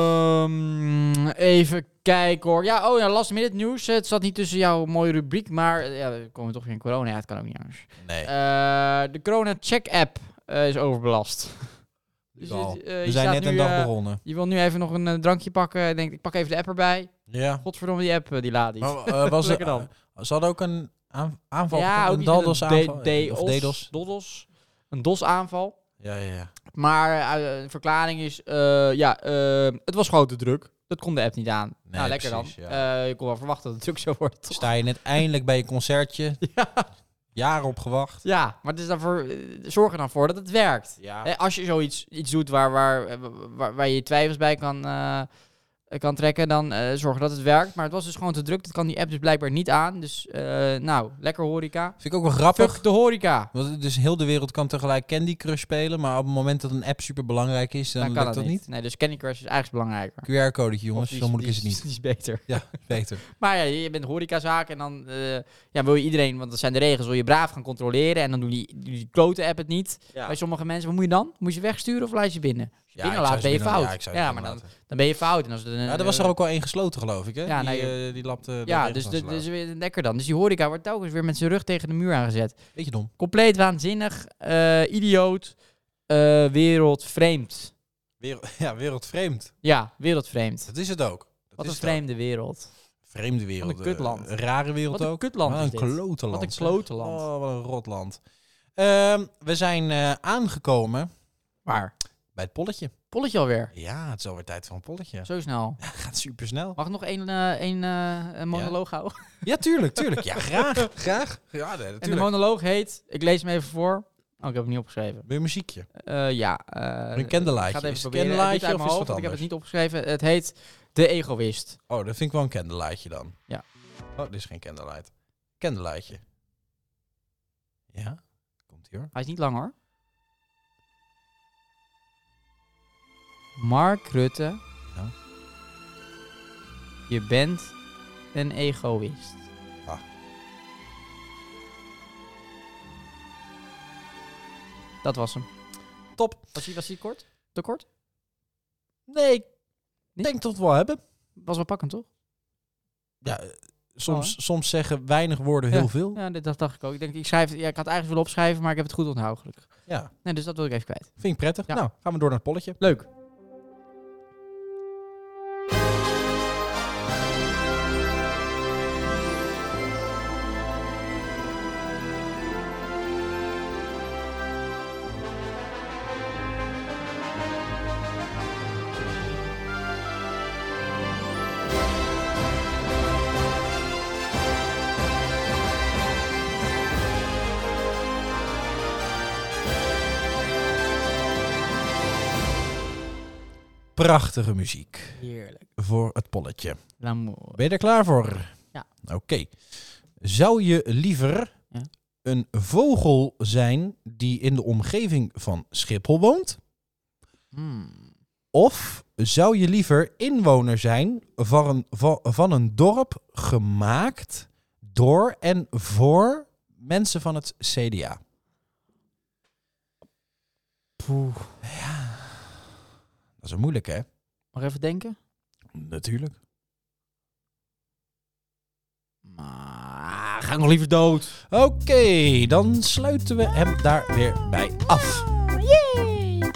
Ehm, even kijken hoor. Ja, oh ja, last minute nieuws. Het zat niet tussen jouw mooie rubriek, maar eh, ja, we komen toch weer in corona. Ja, het kan ook niet anders.
nee.
Eh, de corona check app eh, is overbelast.
is
Dus
al.
het, eh, je
we zijn
staat
net
nu,
een dag
eh,
begonnen.
Je wil nu even nog een eh, drankje pakken. En denkt, ik pak even de app erbij.
Ja.
Godverdomme, die app eh, die laat niet.
Maar, eh, was er,
Lekker dan.
ze hadden ook een aan- aanval.
ja, ook
een
iets met
DDoS aanval. eh,
de-
of
DDoS,
DDoS.
DDoS. Een DOS-aanval.
Ja, ja, ja.
Maar eh, de verklaring is, eh, ja, eh, het was grote druk. Dat kon de app niet aan.
Nee,
nou, lekker
precies,
dan.
ja.
Eh, je kon wel verwachten dat het druk zo wordt. toch?
Dus Sta je net eindelijk bij een concertje.
Ja.
Jaren op gewacht.
Ja, maar het is daarvoor, eh, zorg er dan voor dat het werkt.
Ja.
Eh, als je zoiets iets doet waar, waar, eh, waar, waar je twijfels bij kan, eh, eh, kan trekken, dan eh, zorg dat het werkt. Maar het was dus gewoon te druk. Dat kan die app dus blijkbaar niet aan. Dus eh, nou, lekker horeca.
Vind ik ook wel grappig.
Fuck de horeca.
Want dus heel de wereld kan tegelijk Candy Crush spelen, maar op het moment dat een app super belangrijk is, dan,
Dan kan
lukt
dat
dat
niet.
niet.
Nee, dus Candy Crush is eigenlijk belangrijker.
QR-codetje jongens,
Of
zo moeilijk is het
die
niet.
Die is beter.
Beter.
Maar ja, je bent horecazaak en dan eh, ja, wil je iedereen, want dat zijn de regels, wil je braaf gaan controleren en dan doen die, die klote app het niet.
Ja.
Bij sommige mensen, wat moet je dan? Moet je wegsturen of laat je binnen? Als je
ik
binnen
zou
laat,
ze
ben je
binnen-
fout.
Ja,
Ja,
ik zou ze
maar
binnen
dan,
laten.
dan ben je fout. En als de,
Ja, er was er ook wel één gesloten geloof ik, hè?
Ja,
die,
nou,
eh, die lapte de
Ja,
regels
dus
aan
dat
te laten.
is weer lekker dan. Dus die horeca wordt telkens weer met zijn rug tegen de muur aangezet.
Beetje dom.
Compleet waanzinnig, eh, idioot, eh, wereldvreemd.
Wereld, ja, wereldvreemd.
Ja, wereldvreemd.
Dat is het ook. Dat
Wat
is
een
het ook.
vreemde wereld.
Vreemde wereld.
Wat een kutland.
eh, Een rare wereld
Wat een
ook.
kutland
Wat
is
een
dit.
klote land.
Wat een
zeg.
klote land.
Oh, wat een rot land. Ehm, we zijn eh, aangekomen
Waar?
bij het polletje.
Polletje alweer.
Ja, het is alweer tijd voor een polletje.
Zo snel.
Gaat super snel.
Mag ik nog één eh, één, eh, een monoloog houden?
Ja, tuurlijk, tuurlijk. Ja, graag. graag. Ja, nee,
En de
natuurlijk.
monoloog heet, ik lees hem even voor. Oh, ik heb hem niet opgeschreven.
Weer muziekje.
Eh, ja. eh,
Een candlelightje.
Ik ga
Is
het even
het
proberen. Het
candlelightje
is uit
of
mijn
is
hoofd,
het
want ik
anders?
heb het niet opgeschreven. Het heet De Egoïst.
Oh, dat vind ik wel een candlelightje dan.
Ja.
Oh, dit is geen candlelight. Candlelightje. Ja, komt hier.
Hij is niet lang hoor. Mark Rutte.
Ja.
Je bent een egoïst.
Ah.
Dat was hem.
Top.
Was die, was die kort? Te kort?
Nee, ik
Niet?
denk dat we het wel hebben.
Was wel pakkend, toch?
Ja, eh, soms, soms zeggen weinig woorden heel veel. Ja.
Ja, dat, dat dacht ik ook. Ik, denk, ik, schrijf, ja, ik had het eigenlijk willen opschrijven, maar ik heb het goed onthouden, gelukkig. Nee, dus dat wil ik even kwijt.
vind ik prettig.
Ja.
Nou, gaan we door naar het polletje.
Leuk.
Prachtige muziek
Heerlijk.
voor het polletje.
L'amour.
Ben je er klaar voor?
Ja.
Oké. Zou je liever
Ja.
een vogel zijn die in de omgeving van Schiphol woont?
Hmm.
Of zou je liever inwoner zijn van een, va- van een dorp gemaakt door en voor mensen van het CDA? Poeh. Ja. Dat is een moeilijk, hè?
Mag even denken?
Natuurlijk.
Maar ga ik nog liever dood.
Oké, dan sluiten we hem daar weer bij af.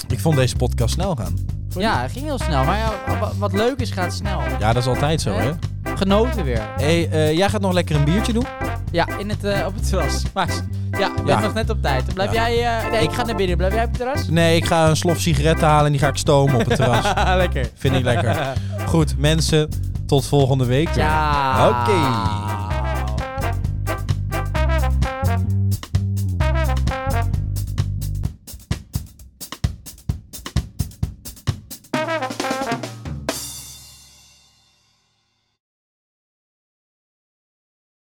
Ik vond deze podcast snel gaan.
Ja, het ging heel snel. Maar ja, wa- wat leuk is, gaat snel.
Ja, dat is altijd zo, hè?
Genoten weer.
hey, eh, jij gaat nog lekker een biertje doen?
Ja, in het, eh, op het terras. Maar ja, ik ben
Ja.
nog net op tijd. Dan Blijf
Ja.
jij... eh, nee, ik ga naar binnen. Blijf jij op het terras?
Nee, ik ga een slof sigaretten halen en die ga ik stomen op het terras.
Lekker.
Vind ik lekker. Goed, mensen, tot volgende week. weer.
Ja.
Oké.